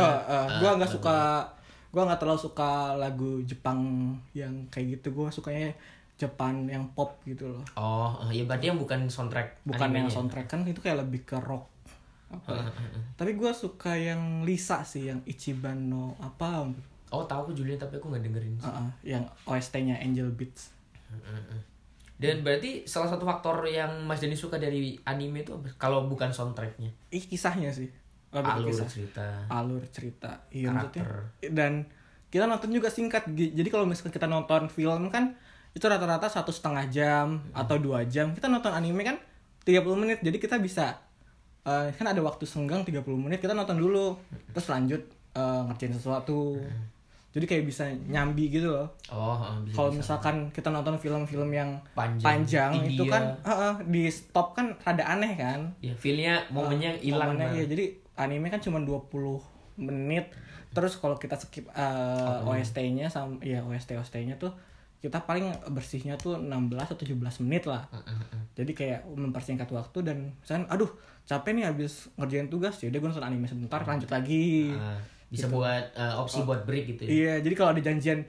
gue nggak suka gue nggak terlalu suka lagu Jepang yang kayak gitu gue sukanya Jepang yang pop gitu loh Oh eh, ya berarti yang bukan soundtrack ya? bukan yang animenya. soundtrack kan itu kayak lebih ke rock apa ya. tapi gue suka yang Lisa sih yang Ichiban no apa Oh tahu aku Julian tapi aku nggak dengerin uh, uh, yang OST-nya Angel Beats Dan berarti salah satu faktor yang mas Denny suka dari anime itu apa? Kalau bukan soundtracknya ih kisahnya sih Lebih ke Alur kisah. cerita alur cerita iya Karakter. maksudnya dan kita nonton juga singkat Gi- jadi kalau misalkan kita nonton film kan itu rata-rata satu setengah jam atau dua jam kita nonton anime kan 30 menit jadi kita bisa eh, kan ada waktu senggang 30 menit kita nonton dulu terus lanjut eh, ngerjain sesuatu jadi kayak bisa nyambi gitu loh Oh eh, bisa kalau misalkan kita nonton film-film yang Panjang, Iya. panjang, itu India. kan heeh, di stop kan rada aneh kan Ya feelnya momennya hilang Momennya, Bang. iya, jadi anime kan cuma 20 menit terus kalau kita skip uh, OST-nya sama ya OST OST-nya tuh kita paling bersihnya tuh 16 atau 17 menit lah jadi kayak mempersingkat waktu dan misalnya aduh capek nih habis ngerjain tugas ya udah gue nonton anime sebentar lanjut lagi Eh, Bisa buat eh, opsi buat break gitu ya Ah, Gitu. Oh. Iya, jadi kalau ada janjian,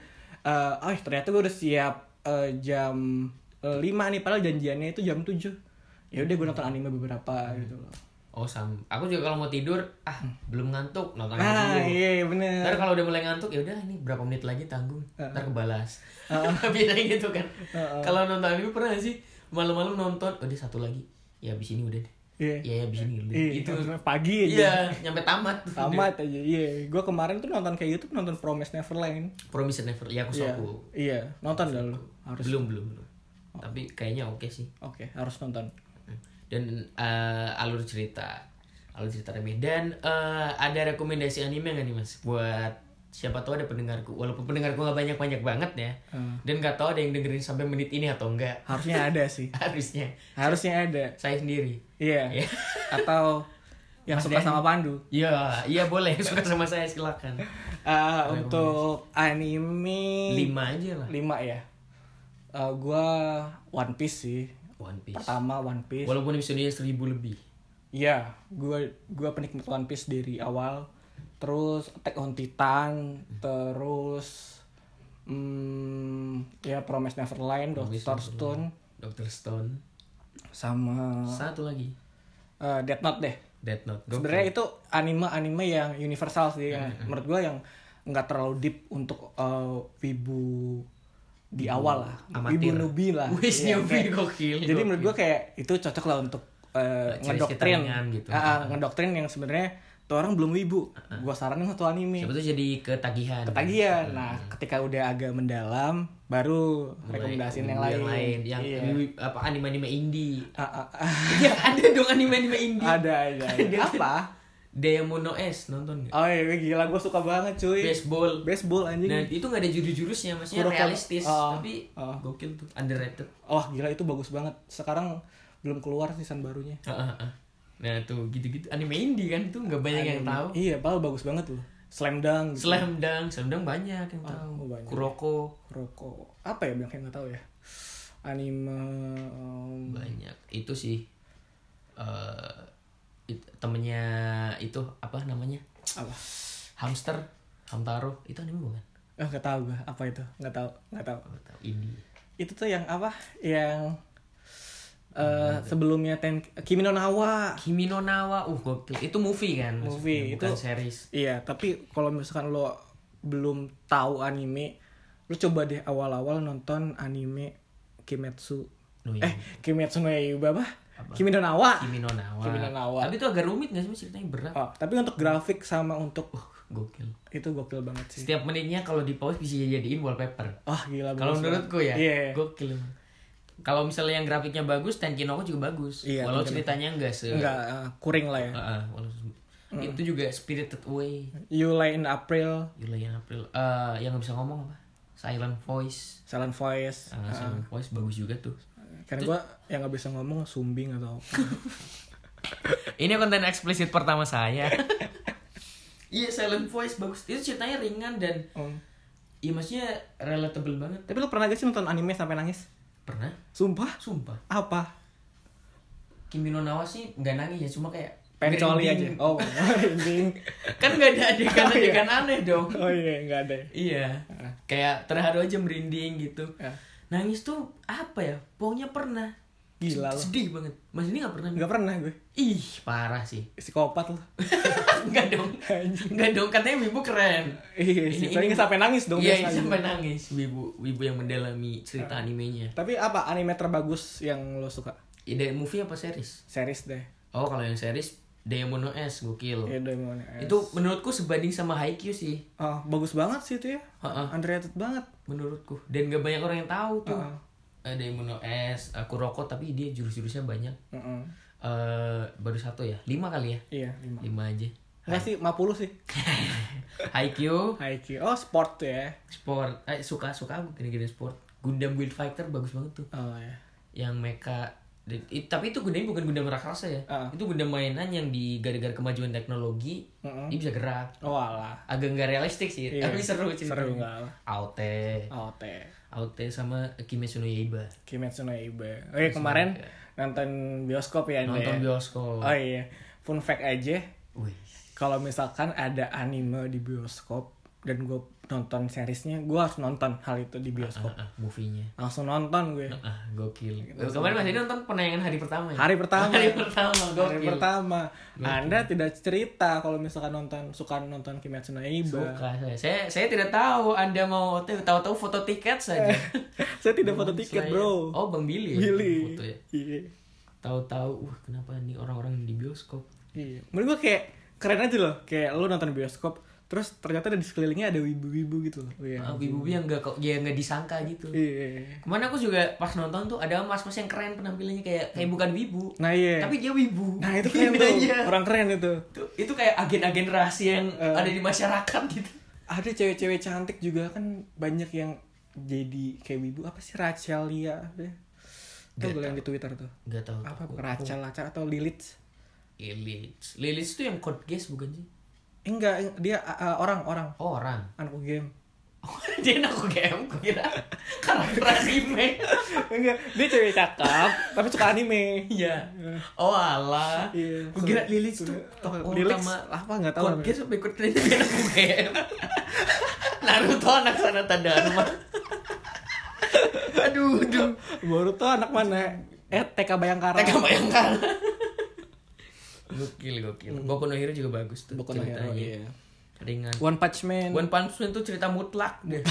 eh oh ternyata gue udah siap eh, jam 5 nih, padahal janjiannya itu jam 7 Ya udah gue nonton anime beberapa gitu loh. Oh sam Aku juga kalau mau tidur Ah belum ngantuk Nonton aja Nah, dulu. Hmm. iya bener. Ntar kalau udah mulai ngantuk ya udah ini berapa menit lagi tanggung, Ah. ntar kebalas. <laughs> Biasanya gitu kan. Kalau nonton anime pernah nggak sih malam-malam nonton, udah satu lagi. Ya abis ini udah deh. Iya. Ya ya abis ini udah. Iya, Ah. Itu nonton pagi aja. Iya, nyampe tamat. Tamat aja. Iya, gue kemarin tuh nonton kayak YouTube nonton Promise Neverland. Promise Never. Ya aku Iya. soku. Iya, nonton dah lu. Harus. Oh. Belum, belum, belum. Tapi kayaknya oke sih. Oke, harus nonton. Dan eh, alur cerita. Alur cerita remeh dan eh, ada rekomendasi anime nggak nih Mas buat siapa tahu ada pendengarku walaupun pendengarku nggak banyak banyak banget ya Hmm. dan nggak tahu ada yang dengerin sampai menit ini atau enggak harusnya ada sih <laughs> harusnya harusnya ada saya sendiri iya Iya. atau yang Mas suka Denny. sama Pandu ya iya boleh <laughs> suka sama saya silakan Eh, untuk anime lima aja lah lima ya Eh, gua One Piece sih One Piece pertama One Piece walaupun episodenya seribu lebih Iya, gua gua penikmat One Piece dari awal. Terus Attack on Titan, terus hmm, ya Promise Neverland, Doctor Stone, Dr. Stone sama satu lagi eh, Death Note deh. Death Note Gokil. Sebenarnya itu anime-anime yang universal sih, yang menurut gua yang nggak terlalu deep untuk eh, wibu di awal lah, amatir. wibu newbie lah. Wis Iya, newbie, kayak- gokil, Jadi gokil. menurut gua kayak itu cocok lah untuk eh, Ciri-ciri ngedoktrin, ringan gitu. Ah, Ah, ah, ngedoktrin yang sebenarnya tuh orang belum wibu. Gua saranin satu anime. siapa Hmm. tuh jadi ketagihan Ketagian. Nah, ketika udah agak mendalam, baru rekomendasiin yang lain. yang lain yang Iya. apa anime anime indie Ah, ah, ah. <laughs> ya ada dong anime anime indie ada ada. ada. Apa? Diamond Ah. S nonton nggak Oh iya, gila gua suka banget cuy. baseball Baseball Iya. anjing. Nah itu gak ada jurus-jurusnya Maksudnya Kuroko- realistis Oh, Tapi oh. gokil tuh Underrated Wah Oh, gila itu bagus banget. Sekarang belum keluar season barunya. Ah, ah, ah. Nah tuh gitu-gitu Anime indie kan Itu gak banyak yang tahu Iya, padahal bagus banget loh. Slam Dunk, gitu. Slam Dunk Slam Dunk banyak yang tahu oh, banyak. Kuroko Kuroko. Apa ya bilang yang nggak tahu ya? Anime um, Banyak Itu sih eh it- Temennya Itu apa namanya apa? Hamster Hamtaro Itu anime bukan? Oh, nggak tahu gua. Apa itu? Nggak tahu, nggak tahu. Nggak tahu. Indie Itu tuh yang apa? Yang eh sebelumnya Ten Kimi no Na wa. Kimi no Nawa Uh gokil Itu movie kan maksudnya, Movie, Bukan itu- series Iya, tapi kalau misalkan lo belum tahu anime, lo coba deh awal-awal nonton anime Kimetsu. Oh, iya. Eh, Kimetsu no Yaiba apa? Kimi no Na wa. Kimi no Nawa. Kimi no Nawa. Tapi itu agak rumit gak sih ceritanya berat Oh, tapi untuk grafik sama untuk Uh, gokil itu gokil banget sih. Setiap menitnya kalau di pause bisa jadiin wallpaper. Wah, gila Kalau bagus menurutku banget. ya, Iya. gokil. Kalau misalnya yang grafiknya bagus, Tenkinoko juga bagus. Iya, walau Tenkinoko. ceritanya enggak se Enggak eh, kuring lah ya. Heeh, walau se- itu juga Spirited Away. July in April, Julian April. Eh, yang nggak bisa ngomong apa? Silent Voice. Silent Voice. Ah, Silent Voice bagus juga tuh. Karena gua yang nggak bisa ngomong sumbing <laughs> atau Ini konten eksplisit pertama <laughs> saya. Iya, Silent Voice bagus. Itu ceritanya ringan dan Om. iya maksudnya relatable banget. Tapi lu pernah gak sih nonton anime sampai nangis? Pernah? Sumpah? Sumpah. Apa? Kimi no Nawa sih nggak nangis ya, cuma kayak Pencoli aja. iya. merinding. <laughs> Oh, merinding. kan nggak ada <laughs> adegan-adegan aneh dong Oh iya, nggak ada. ya. iya kayak terharu aja merinding gitu Ah. nangis tuh apa ya pokoknya pernah Gila lu. sedih banget mas ini nggak pernah Nggak pernah gue. ih parah sih <laughs> Psikopat lu. nggak dong Anjing. nggak dong katanya wibu keren Iya, Ini- sih. ini- Tapi nggak sampai nangis dong iya biasanya. sampai nangis wibu wibu yang mendalami cerita Ah. animenya Tapi apa anime terbagus yang lo suka? ide movie apa series Series deh. oh kalau yang series Demon S gokil Ya Doraemon. Eh. itu menurutku sebanding sama Haikyuu sih Oh, bagus banget sih itu ya. Ha-ha. Underrated banget. menurutku dan gak banyak orang yang tahu tuh Heeh. ada Demon S aku rokok tapi dia jurus-jurusnya banyak Heeh. eh baru satu ya lima kali ya Iya, lima. lima aja <laughs> Enggak sih, 50 sih. Haikyuu Haikyuu. Oh, sport tuh ya. sport eh suka suka aku gini-gini sport Gundam Build Fighter bagus banget tuh Oh ya. yang mecha dan- i- tapi itu Gundam bukan Gundam raksasa ya Ah. itu Gundam mainan yang di gara-gara kemajuan teknologi Mm-mm. dia bisa gerak Oh alah. agak nggak realistik sih Iya. tapi seru Seru ceritanya enggak? Aote Oh, teh. Aote sama Kimetsu no Yaiba Kimetsu no Yaiba. Oke, kemarin nonton bioskop ya Anda nonton ya? bioskop Oh iya. Fun fact aja, Wih. kalau misalkan ada anime di bioskop dan gue nonton seriesnya, gue harus nonton hal itu di bioskop. Ah, movie-nya. Langsung nonton gue. Ah, gokil. Gitu. Kemarin Mas Edi nonton penayangan hari pertama ya? Hari pertama. Hari pertama, Hari gokil. pertama. Anda tidak cerita kalau misalkan nonton suka nonton Kimetsu no Yaiba. Suka saya. saya. Saya tidak tahu Anda mau OTW, tahu-tahu foto tiket saja. <laughs> Saya tidak foto Eh, tiket, Selain- Bro. Oh, Bang Billy. ya yang Pilih. Foto ya. Iya. Tahu-tahu, wah kenapa nih orang-orang di bioskop? Iya. Menurut gue kayak keren aja loh. Kayak lo nonton bioskop, terus ternyata ada di sekelilingnya ada wibu-wibu gitu loh. Iya. Ah, Ibu-ibu yang enggak ya nggak disangka gitu. Iya. Kemana aku juga pas nonton tuh ada mas-mas yang keren penampilannya kayak kayak bukan wibu, Nah iya. tapi Iya. dia wibu. nah <laughs> itu keren tuh. Bedanya. Orang keren itu. Eh. Itu, itu kayak agen-agen rahasia yang ada di masyarakat gitu. ada cewek-cewek cantik juga kan banyak yang jadi kayak wibu apa sih ya. Rachel Lia Nggak Tuh gue yang di Twitter tuh Gak tau. apa Rachel Rachel atau Lilith Lilith. Lilith itu yang code guess bukan sih? Oh, Eh, enggak dia uh, orang orang Orang. <laughs> anak game dia anak UGM gue kira <laughs> karakter anime. enggak dia cewek cakep tapi suka anime <laughs> Iya. Oh alah. Iya. Gue kira Lilith tuh tokoh Lilith utama. apa nggak tahu Code guess sampai ikut ternyata dia anak UGM. <laughs> Naruto anak Sanata Dharma. <laughs> aduh, aduh. baru tuh anak mana eh TK Bayangkara Teka bayangkan. <laughs> gokil, gokil. Boku no Hero juga bagus tuh Hmm. Boku no Hero, ceritanya. iya. Ringan. One Punch Man One Punch Man tuh cerita mutlak deh.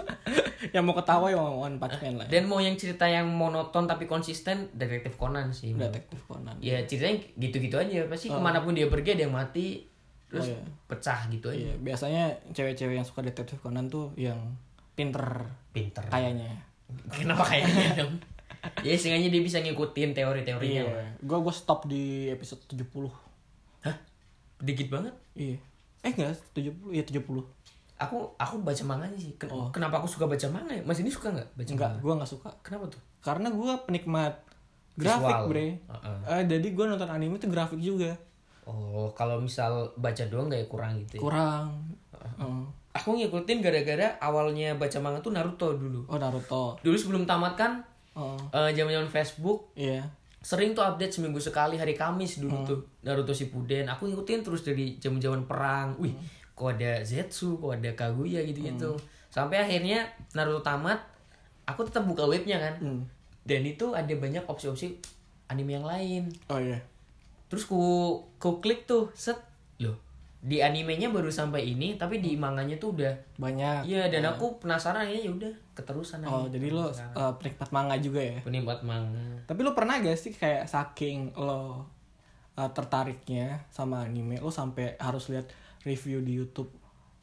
<laughs> yang mau ketawa ya One Punch Man lah Dan mau yang cerita yang monoton tapi konsisten, Detektif Conan sih. detektif Nah, Conan Iya, Ya ceritanya gitu-gitu aja. Pasti kemanapun dia pergi ada yang mati, terus Oh, iya. pecah gitu aja. Iya, biasanya cewek-cewek yang suka detektif Conan tuh yang pinter <laughs> Pinter. kayaknya. Kenapa kayaknya dong? ya seenggaknya dia bisa ngikutin Iya. teori-teorinya. lah. Gua gua stop di episode 70. Hah? Dikit banget. Iya. Eh enggak, 70. Iya 70. Aku aku baca manganya sih. Ken- Kenapa aku suka baca manga ya? Mas ini suka nggak baca Enggak, manga? gua Oh. nggak suka. Kenapa tuh? Karena gua penikmat grafik, Visual. Bre. Heeh. Eh, jadi gua nonton anime tuh grafik juga. Oh, kalau misal baca doang kayak kurang gitu. ya? Kurang. Hmm. Heeh. Aku ngikutin gara-gara awalnya baca manga tuh Naruto dulu. Oh, Naruto. Dulu sebelum tamat kan Heeh. eh, zaman-zaman Facebook Iya. sering tuh update seminggu sekali hari Kamis dulu tuh Naruto Shippuden. Aku ngikutin terus dari zaman-zaman perang. Wih, kok ada Zetsu, kok ada Kaguya gitu-gitu. Sampai akhirnya Naruto tamat, aku tetap buka webnya kan. Hmm. Dan itu ada banyak opsi-opsi anime yang lain. Oh iya. terus ku ku klik tuh set loh di animenya baru sampai ini tapi di manganya tuh udah Banyak. iya dan aku penasaran ya udah keterusan Oh, aja jadi lo eh, penikmat manga juga ya? penikmat manga Tapi lo pernah gak sih kayak saking lo uh, tertariknya sama anime lo sampai harus lihat review di YouTube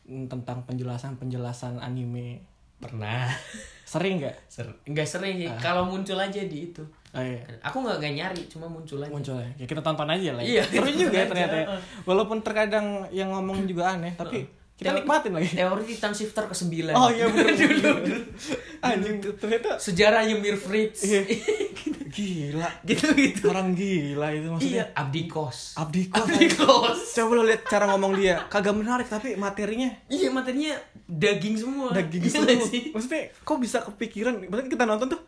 mm, tentang penjelasan-penjelasan anime. pernah <laughs> Sering gak? Ser nggak sering sih kalau muncul aja di itu Oh, iya. aku nggak nggak nyari cuma muncul <laughs> aja Muncul ya. Ya, kita tonton aja lah. Iya, Ya. Seru kita juga ya tonton ternyata. aja. ya. Walaupun terkadang yang ngomong juga aneh, tapi kita nikmatin lagi. teori Titan Shifter ke sembilan Oh iya <laughs> <laughs> bener dulu Anjing ternyata sejarah Ymir Fritz <laughs> Iya. gila. gitu gitu Orang gila itu maksudnya. iya Abdi Kos Abdi kos. Abdi Kos Coba lo lihat cara ngomong dia. Kagak menarik tapi materinya iya materinya daging semua daging Iya semua. nggak sih Maksudnya kok bisa kepikiran? Maksudnya kita nonton tuh,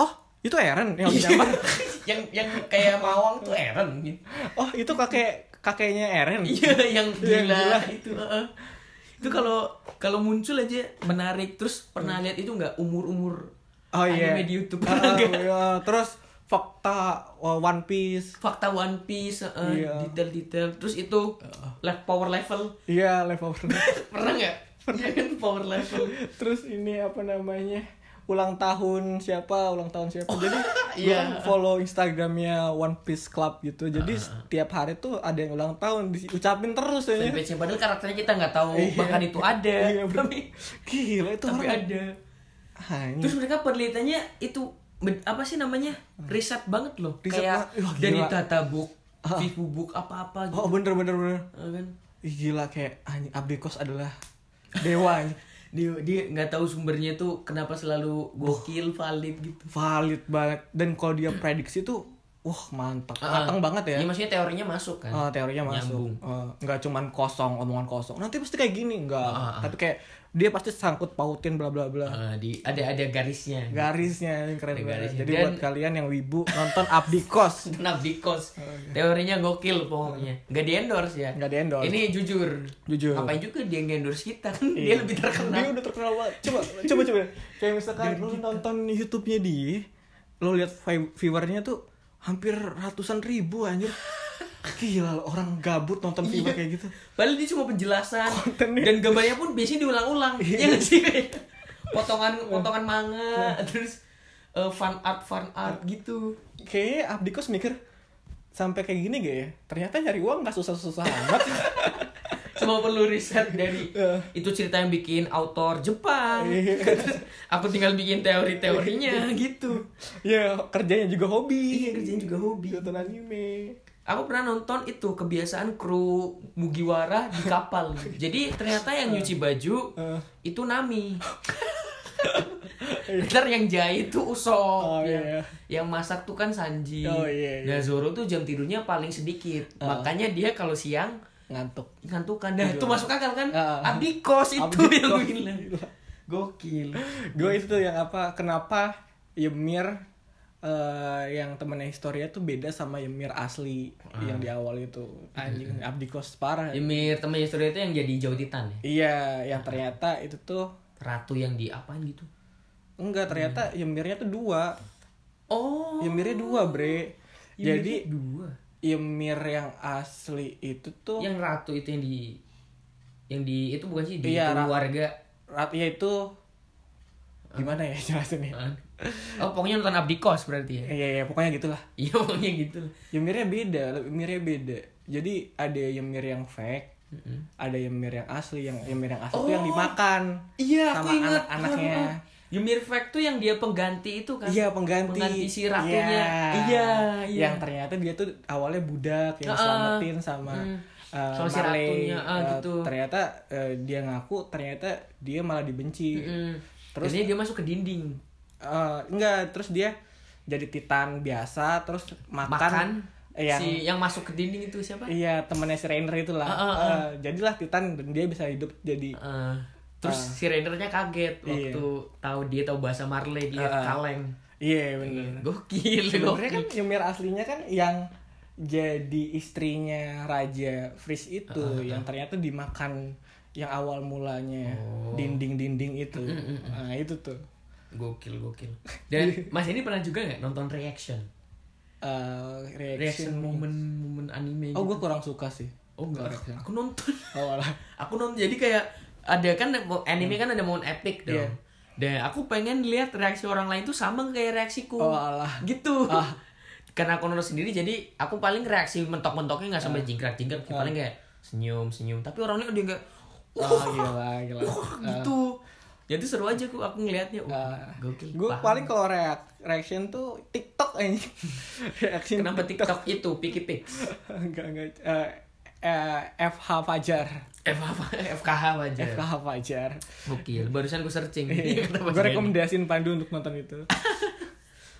oh itu Eren Iya. yang siapa? <laughs> yang yang kayak mawang tuh Eren gitu. oh itu kakek kakeknya Eren. Iya, yang gila, Yang gila. itu. heeh. Itu kalau kalau muncul aja menarik. Terus pernah lihat itu nggak umur-umur Oh iya. anime di YouTube? <laughs> Ah, Pernah nggak? iya. Terus fakta uh, One Piece. Fakta One Piece, heeh, Iya. detail-detail. Terus itu le- power level. Iya level <laughs> pernah. Pernah nggak? Pernah kan power level. Iya. Terus ini apa namanya? Ulang tahun siapa? Ulang tahun siapa? <laughs> Jadi gue iya. Ah, kan follow Instagramnya One Piece Club gitu. Jadi setiap hari tuh ada yang ulang tahun diucapin terus ya. Fanpage-nya padahal karakternya kita nggak tahu Iya. bahkan itu ada. Iya, bener. tapi Gila itu tapi orang. ada. Hanya. Terus mereka penelitiannya itu ben- apa sih namanya? Riset banget loh. Hmm. Riset Kayak banget. Wah, gila. Ah. dari tata book, vivu book apa-apa gitu. Oh bener bener bener. Ah, kan? Ih, gila kayak anjing Abdi Kos adalah dewa anjing. dia dia nggak tahu sumbernya tuh kenapa selalu gokil valid gitu valid banget dan kalau dia prediksi tuh wah mantap matang banget ya ya maksudnya teorinya masuk kan Ah, teorinya Nyambung. masuk Ah, nggak cuman kosong omongan kosong nanti pasti kayak gini nggak Ah, tapi kayak dia pasti sangkut pautin bla bla bla Eh, di ada ada garisnya garisnya yang keren banget garisnya. jadi Dan- buat kalian yang wibu nonton Abdi Kos kenapa di kos teorinya gokil pokoknya nggak di endorse ya Oh, iya. Hmm. Nggak di-endorse. ini ya? jujur Jujur. ngapain juga dia nge endorse kita kan dia lebih Iya. dia terkenal udah terkenal banget coba coba coba kayak misalkan lu gitu. nonton YouTube-nya dia lo lihat vi- viewernya tuh hampir ratusan ribu <laughs> anjir gila lo, orang gabut nonton viewer kayak gitu padahal dia cuma penjelasan Kontennya. Iya. dan gambarnya pun biasanya diulang-ulang ya nggak sih potongan potongan manga Iya. terus eh, fan art fan art gitu kayaknya Abdi Kos mikir sampai kayak gini gak ya ternyata nyari uang gak susah-susah amat cuma perlu riset dari Iya. itu cerita yang bikin autor Jepang Terus aku tinggal bikin teori-teorinya Iya. gitu <laughs> ya kerjanya juga hobi iya kerjaan juga hobi nonton anime aku pernah nonton itu kebiasaan kru Mugiwara di <laughs> kapal jadi ternyata yang nyuci baju Eh. itu <laughs> Nami Ntar yang jahit tuh Usop Oh, yang, iya. yang masak tuh kan Sanji Oh, iya, iya. Nah, Zoro tuh jam tidurnya paling sedikit Makanya dia kalau siang ngantuk ngantukan Nah itu masuk akal kan Ah, ah. Abdi kos itu Abdi yang kos. gue bilang. Gokil gue itu tuh yang apa kenapa Ymir eh, yang temennya Historia tuh beda sama Ymir asli yang di awal itu anjing Abdi Kos parah Ymir temennya Surya itu yang jadi jauh titan ya iya yang ternyata itu tuh Ratu yang di apaan gitu enggak ternyata Ymirnya tuh dua Oh Ymirnya dua bre Ymir jadi dua Ymir yang asli itu tuh Yang ratu itu yang di Yang di itu bukan sih di Iya, ra- keluarga rat ya itu gimana ya jelasin ya Apaan? Oh pokoknya nonton Abdi kos berarti ya iya iya pokoknya gitulah Iya pokoknya gitu Yemirnya beda, Yemirnya beda. Jadi ada Yemir yang fake, ada Yemir yang asli, yang Yemir yang asli itu yang Oh. dimakan. Iya, sama aku ingat anak-anaknya. Ymir Fake tuh yang dia pengganti itu kan? Iya pengganti. Pengganti si ratunya. Iya, iya. Yang ternyata dia tuh awalnya budak yang Heeh. selamatin sama Hmm. eh, Sama si Marley. ratunya, ah, Eh, gitu. Ternyata eh, dia ngaku, ternyata dia malah dibenci. Terus- Terus dia masuk ke dinding. Eh, enggak, terus dia jadi titan biasa, terus makan, Makan yang si yang masuk ke dinding itu siapa? Iya temennya si Rainer itulah. Ah, ah, Eh, jadilah Titan dan dia bisa hidup jadi Eh, terus Ah. si Rainernya kaget waktu tahu dia tahu bahasa Marley dia kaleng. Ah. Iya bener. Gokil, Sebenarnya gokil. kan Ymir aslinya kan yang jadi istrinya Raja Fris itu Ah, yang ternyata dimakan yang awal mulanya Oh. dinding-dinding itu. Mm, Nah itu tuh. Gokil, gokil. <laughs> Dan Mas ini pernah juga nggak nonton reaction? Eh, reaction. Reaction momen momen anime. Oh gitu? gue kurang suka sih. Oh, oh enggak. Aku nonton. <laughs> Awalnya. aku nonton jadi kayak ada kan anime kan ada momen epic dong Hmm. Iya. dan aku pengen lihat reaksi orang lain tuh sama kayak reaksiku Oh, alah. Ah. gitu <laughs> karena aku nonton sendiri jadi aku paling reaksi mentok-mentoknya nggak sampai Ah. jingkrak-jingkrak paling kayak senyum senyum tapi orang lain dia kayak wah Oh gila gila. "Uh," <laughs> gitu jadi seru aja aku aku ngelihatnya wah Ah. gokil Gue Paham. paling kalau reak- reaction tuh TikTok aja. <laughs> reaction kenapa TikTok itu Piki Pix <laughs> enggak enggak Eh, eh, FH Fajar F apa FKH aja FKH Fajar gokil barusan gue searching <laughs> Kata Mas gue Reni. rekomendasiin Pandu untuk nonton itu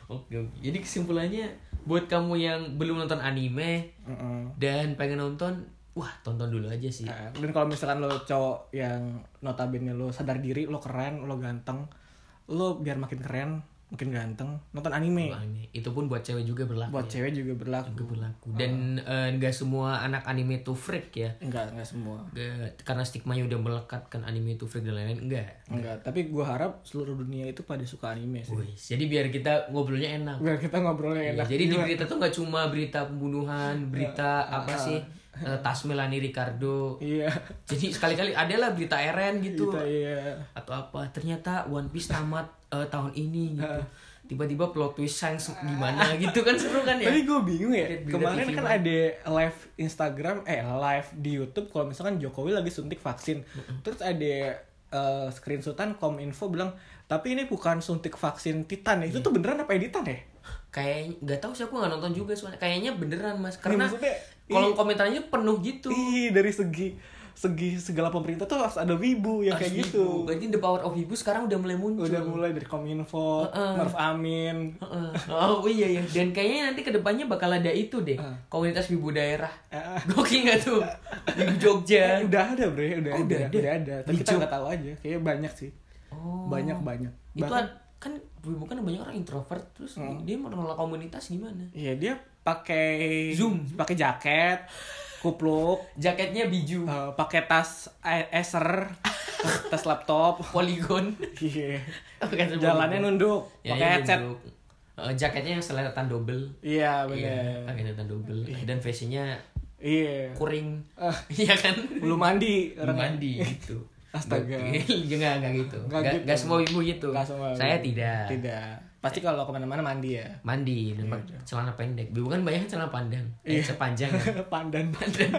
Oke, oke. Jadi kesimpulannya buat kamu yang belum nonton anime Mm-mm. dan pengen nonton, wah tonton dulu aja sih. Eh, dan kalau misalkan lo cowok yang notabene lo sadar diri lo keren lo ganteng lo biar makin keren makin ganteng nonton anime Anime. Itu pun Iya. buat cewek juga berlaku. buat cewek juga berlaku berlaku. Dan enggak semua anak anime itu freak ya. enggak enggak semua Nggak- karena stigmanya udah melekatkan anime itu freak dan lain-lain enggak. enggak tapi gue harap seluruh dunia itu pada suka anime sih Wih, jadi biar kita ngobrolnya enak. biar kita ngobrolnya enak Iya, jadi di berita tuh nggak cuma berita pembunuhan, berita apa sih? eh, Tasmelani Ricardo. iya Jadi sekali-kali adalah berita Eren gitu. kita iya atau apa ternyata One Piece tamat eh, tahun ini gitu Iya. tiba-tiba plot twist Shanks gimana <laughs> gitu kan seru kan ya Tapi gue bingung ya, Update berita kemarin TV kan One. ada live Instagram, eh live di Youtube kalau misalkan Jokowi lagi suntik vaksin. Terus ada eh, screenshotan kominfo bilang, tapi ini bukan suntik vaksin Titan Iya. ya, itu tuh beneran apa editan ya? kayaknya nggak tahu sih aku nggak nonton juga soalnya kayaknya beneran mas karena maksudnya, kolom iya. komentarnya penuh gitu Ih, dari segi segi segala pemerintah tuh harus ada wibu yang kayak Asli, gitu. berarti the power of ibu sekarang udah mulai muncul Udah mulai dari kominfo, Maruf Amin, Heeh. oh iya iya dan kayaknya nanti kedepannya bakal ada itu deh komunitas ibu daerah Ah. gokil nggak tuh ibu Jogja Eh, udah ada bre, udah, Iya. Oh, udah ada, ada. udah ada. Tapi kita Hijau. nggak tahu aja, kayaknya banyak sih, oh banyak banyak. itu Bahkan- ad- kan ibu kan banyak orang introvert terus dia mau nolak komunitas gimana Iya dia pakai Zoom. pakai jaket, kupluk, jaketnya biju eh, pakai tas e- Acer, tas laptop. <laughs> poligon Iya. Bukan semua Jalannya poligon. nunduk, Ya, pakai ya, headset. nunduk. Eh, jaketnya yang seletan double Iya benar. Iya, pakai seletan double dan fashionnya Iya. kuring Ah. <laughs> iya kan Belum mandi Belum orangnya. mandi gitu ya? Astaga. Enggak, enggak gitu. Nggak Enggak gitu. semua ibu gitu. Nggak semua ibu. Saya tidak. Tidak. Pasti kalau kemana-mana mandi ya. Mandi dan pakai Iya. <laughs> Iya. celana pendek. Ibu kan banyak celana pandang. Eh, sepanjang. Pandan. Pandan.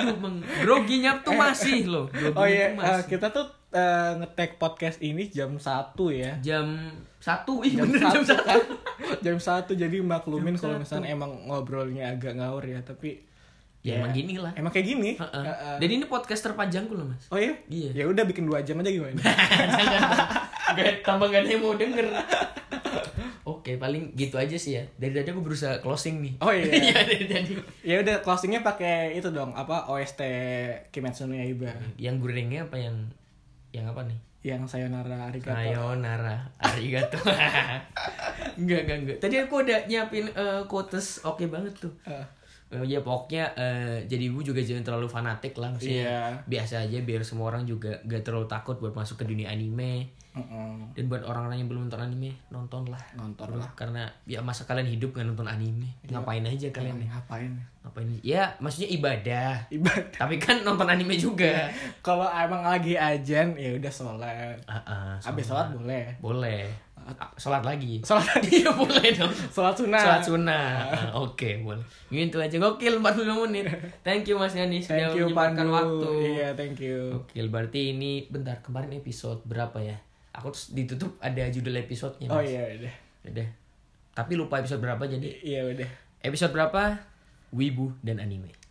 Aduh, meng- groginya tuh masih loh. Groginya Oh tuh iya, eh, masih. kita tuh eh, nge-tag podcast ini jam 1 ya. Jam satu, ih Jam bener jam satu satu. kan. Jam 1 jadi maklumin Jam kalau satu. misalnya emang ngobrolnya agak ngawur ya, tapi Ya, emang gini lah. Emang kayak gini. Heeh. Iya. Heeh. Dan ini podcast terpanjangku loh <laughs> mas. Oh iya? Iya. Ya udah bikin 2 jam aja <laughs> gimana? Gak tambah gak ada yang mau denger. Oke, paling gitu aja sih ya. Dari tadi aku berusaha closing nih. Oh iya. <laughs> dari tadi. ya udah closingnya pakai itu dong, apa OST Kimetsu no Yaiba Yang gurengnya apa yang yang apa nih? yang sayonara arigato. Sayonara, arigato. <laughs> enggak, enggak, enggak. Tadi aku udah nyiapin eh, quotes oke banget tuh. Eh, Eh, ya pokoknya eh, jadi ibu juga jangan terlalu fanatik lah maksudnya. Iya. Biasa aja biar semua orang juga gak terlalu takut buat masuk ke dunia anime. mm-mm. Dan buat orang-orang yang belum nonton anime, nontonlah. Nonton lah. Karena ya masa kalian hidup nggak nonton anime? Iya. Ngapain aja kalian? ya? Kalian ngapain? Ngapain? Ya, maksudnya ibadah. Ibadah. Tapi kan nonton anime juga. <laughs> Kalau emang lagi ajan ya udah sholat. Ah, ah, Habis sholat boleh. boleh. Ah, Sholat lagi. Sholat <laughs> Iya boleh dong. sholat sunat. Sholat sunnah. Ah, Oke, boleh. Gitu aja. Gokil 45 menit. Thank you Mas Yani sudah Thank you menyempatkan Pandu. waktu. Iya, thank you. Gokil. Berarti ini bentar kemarin episode berapa ya? Aku terus ditutup ada judul episodenya. Oh Mas. iya udah. Udah. Tapi lupa episode berapa jadi Iya udah. Episode berapa? Wibu dan anime.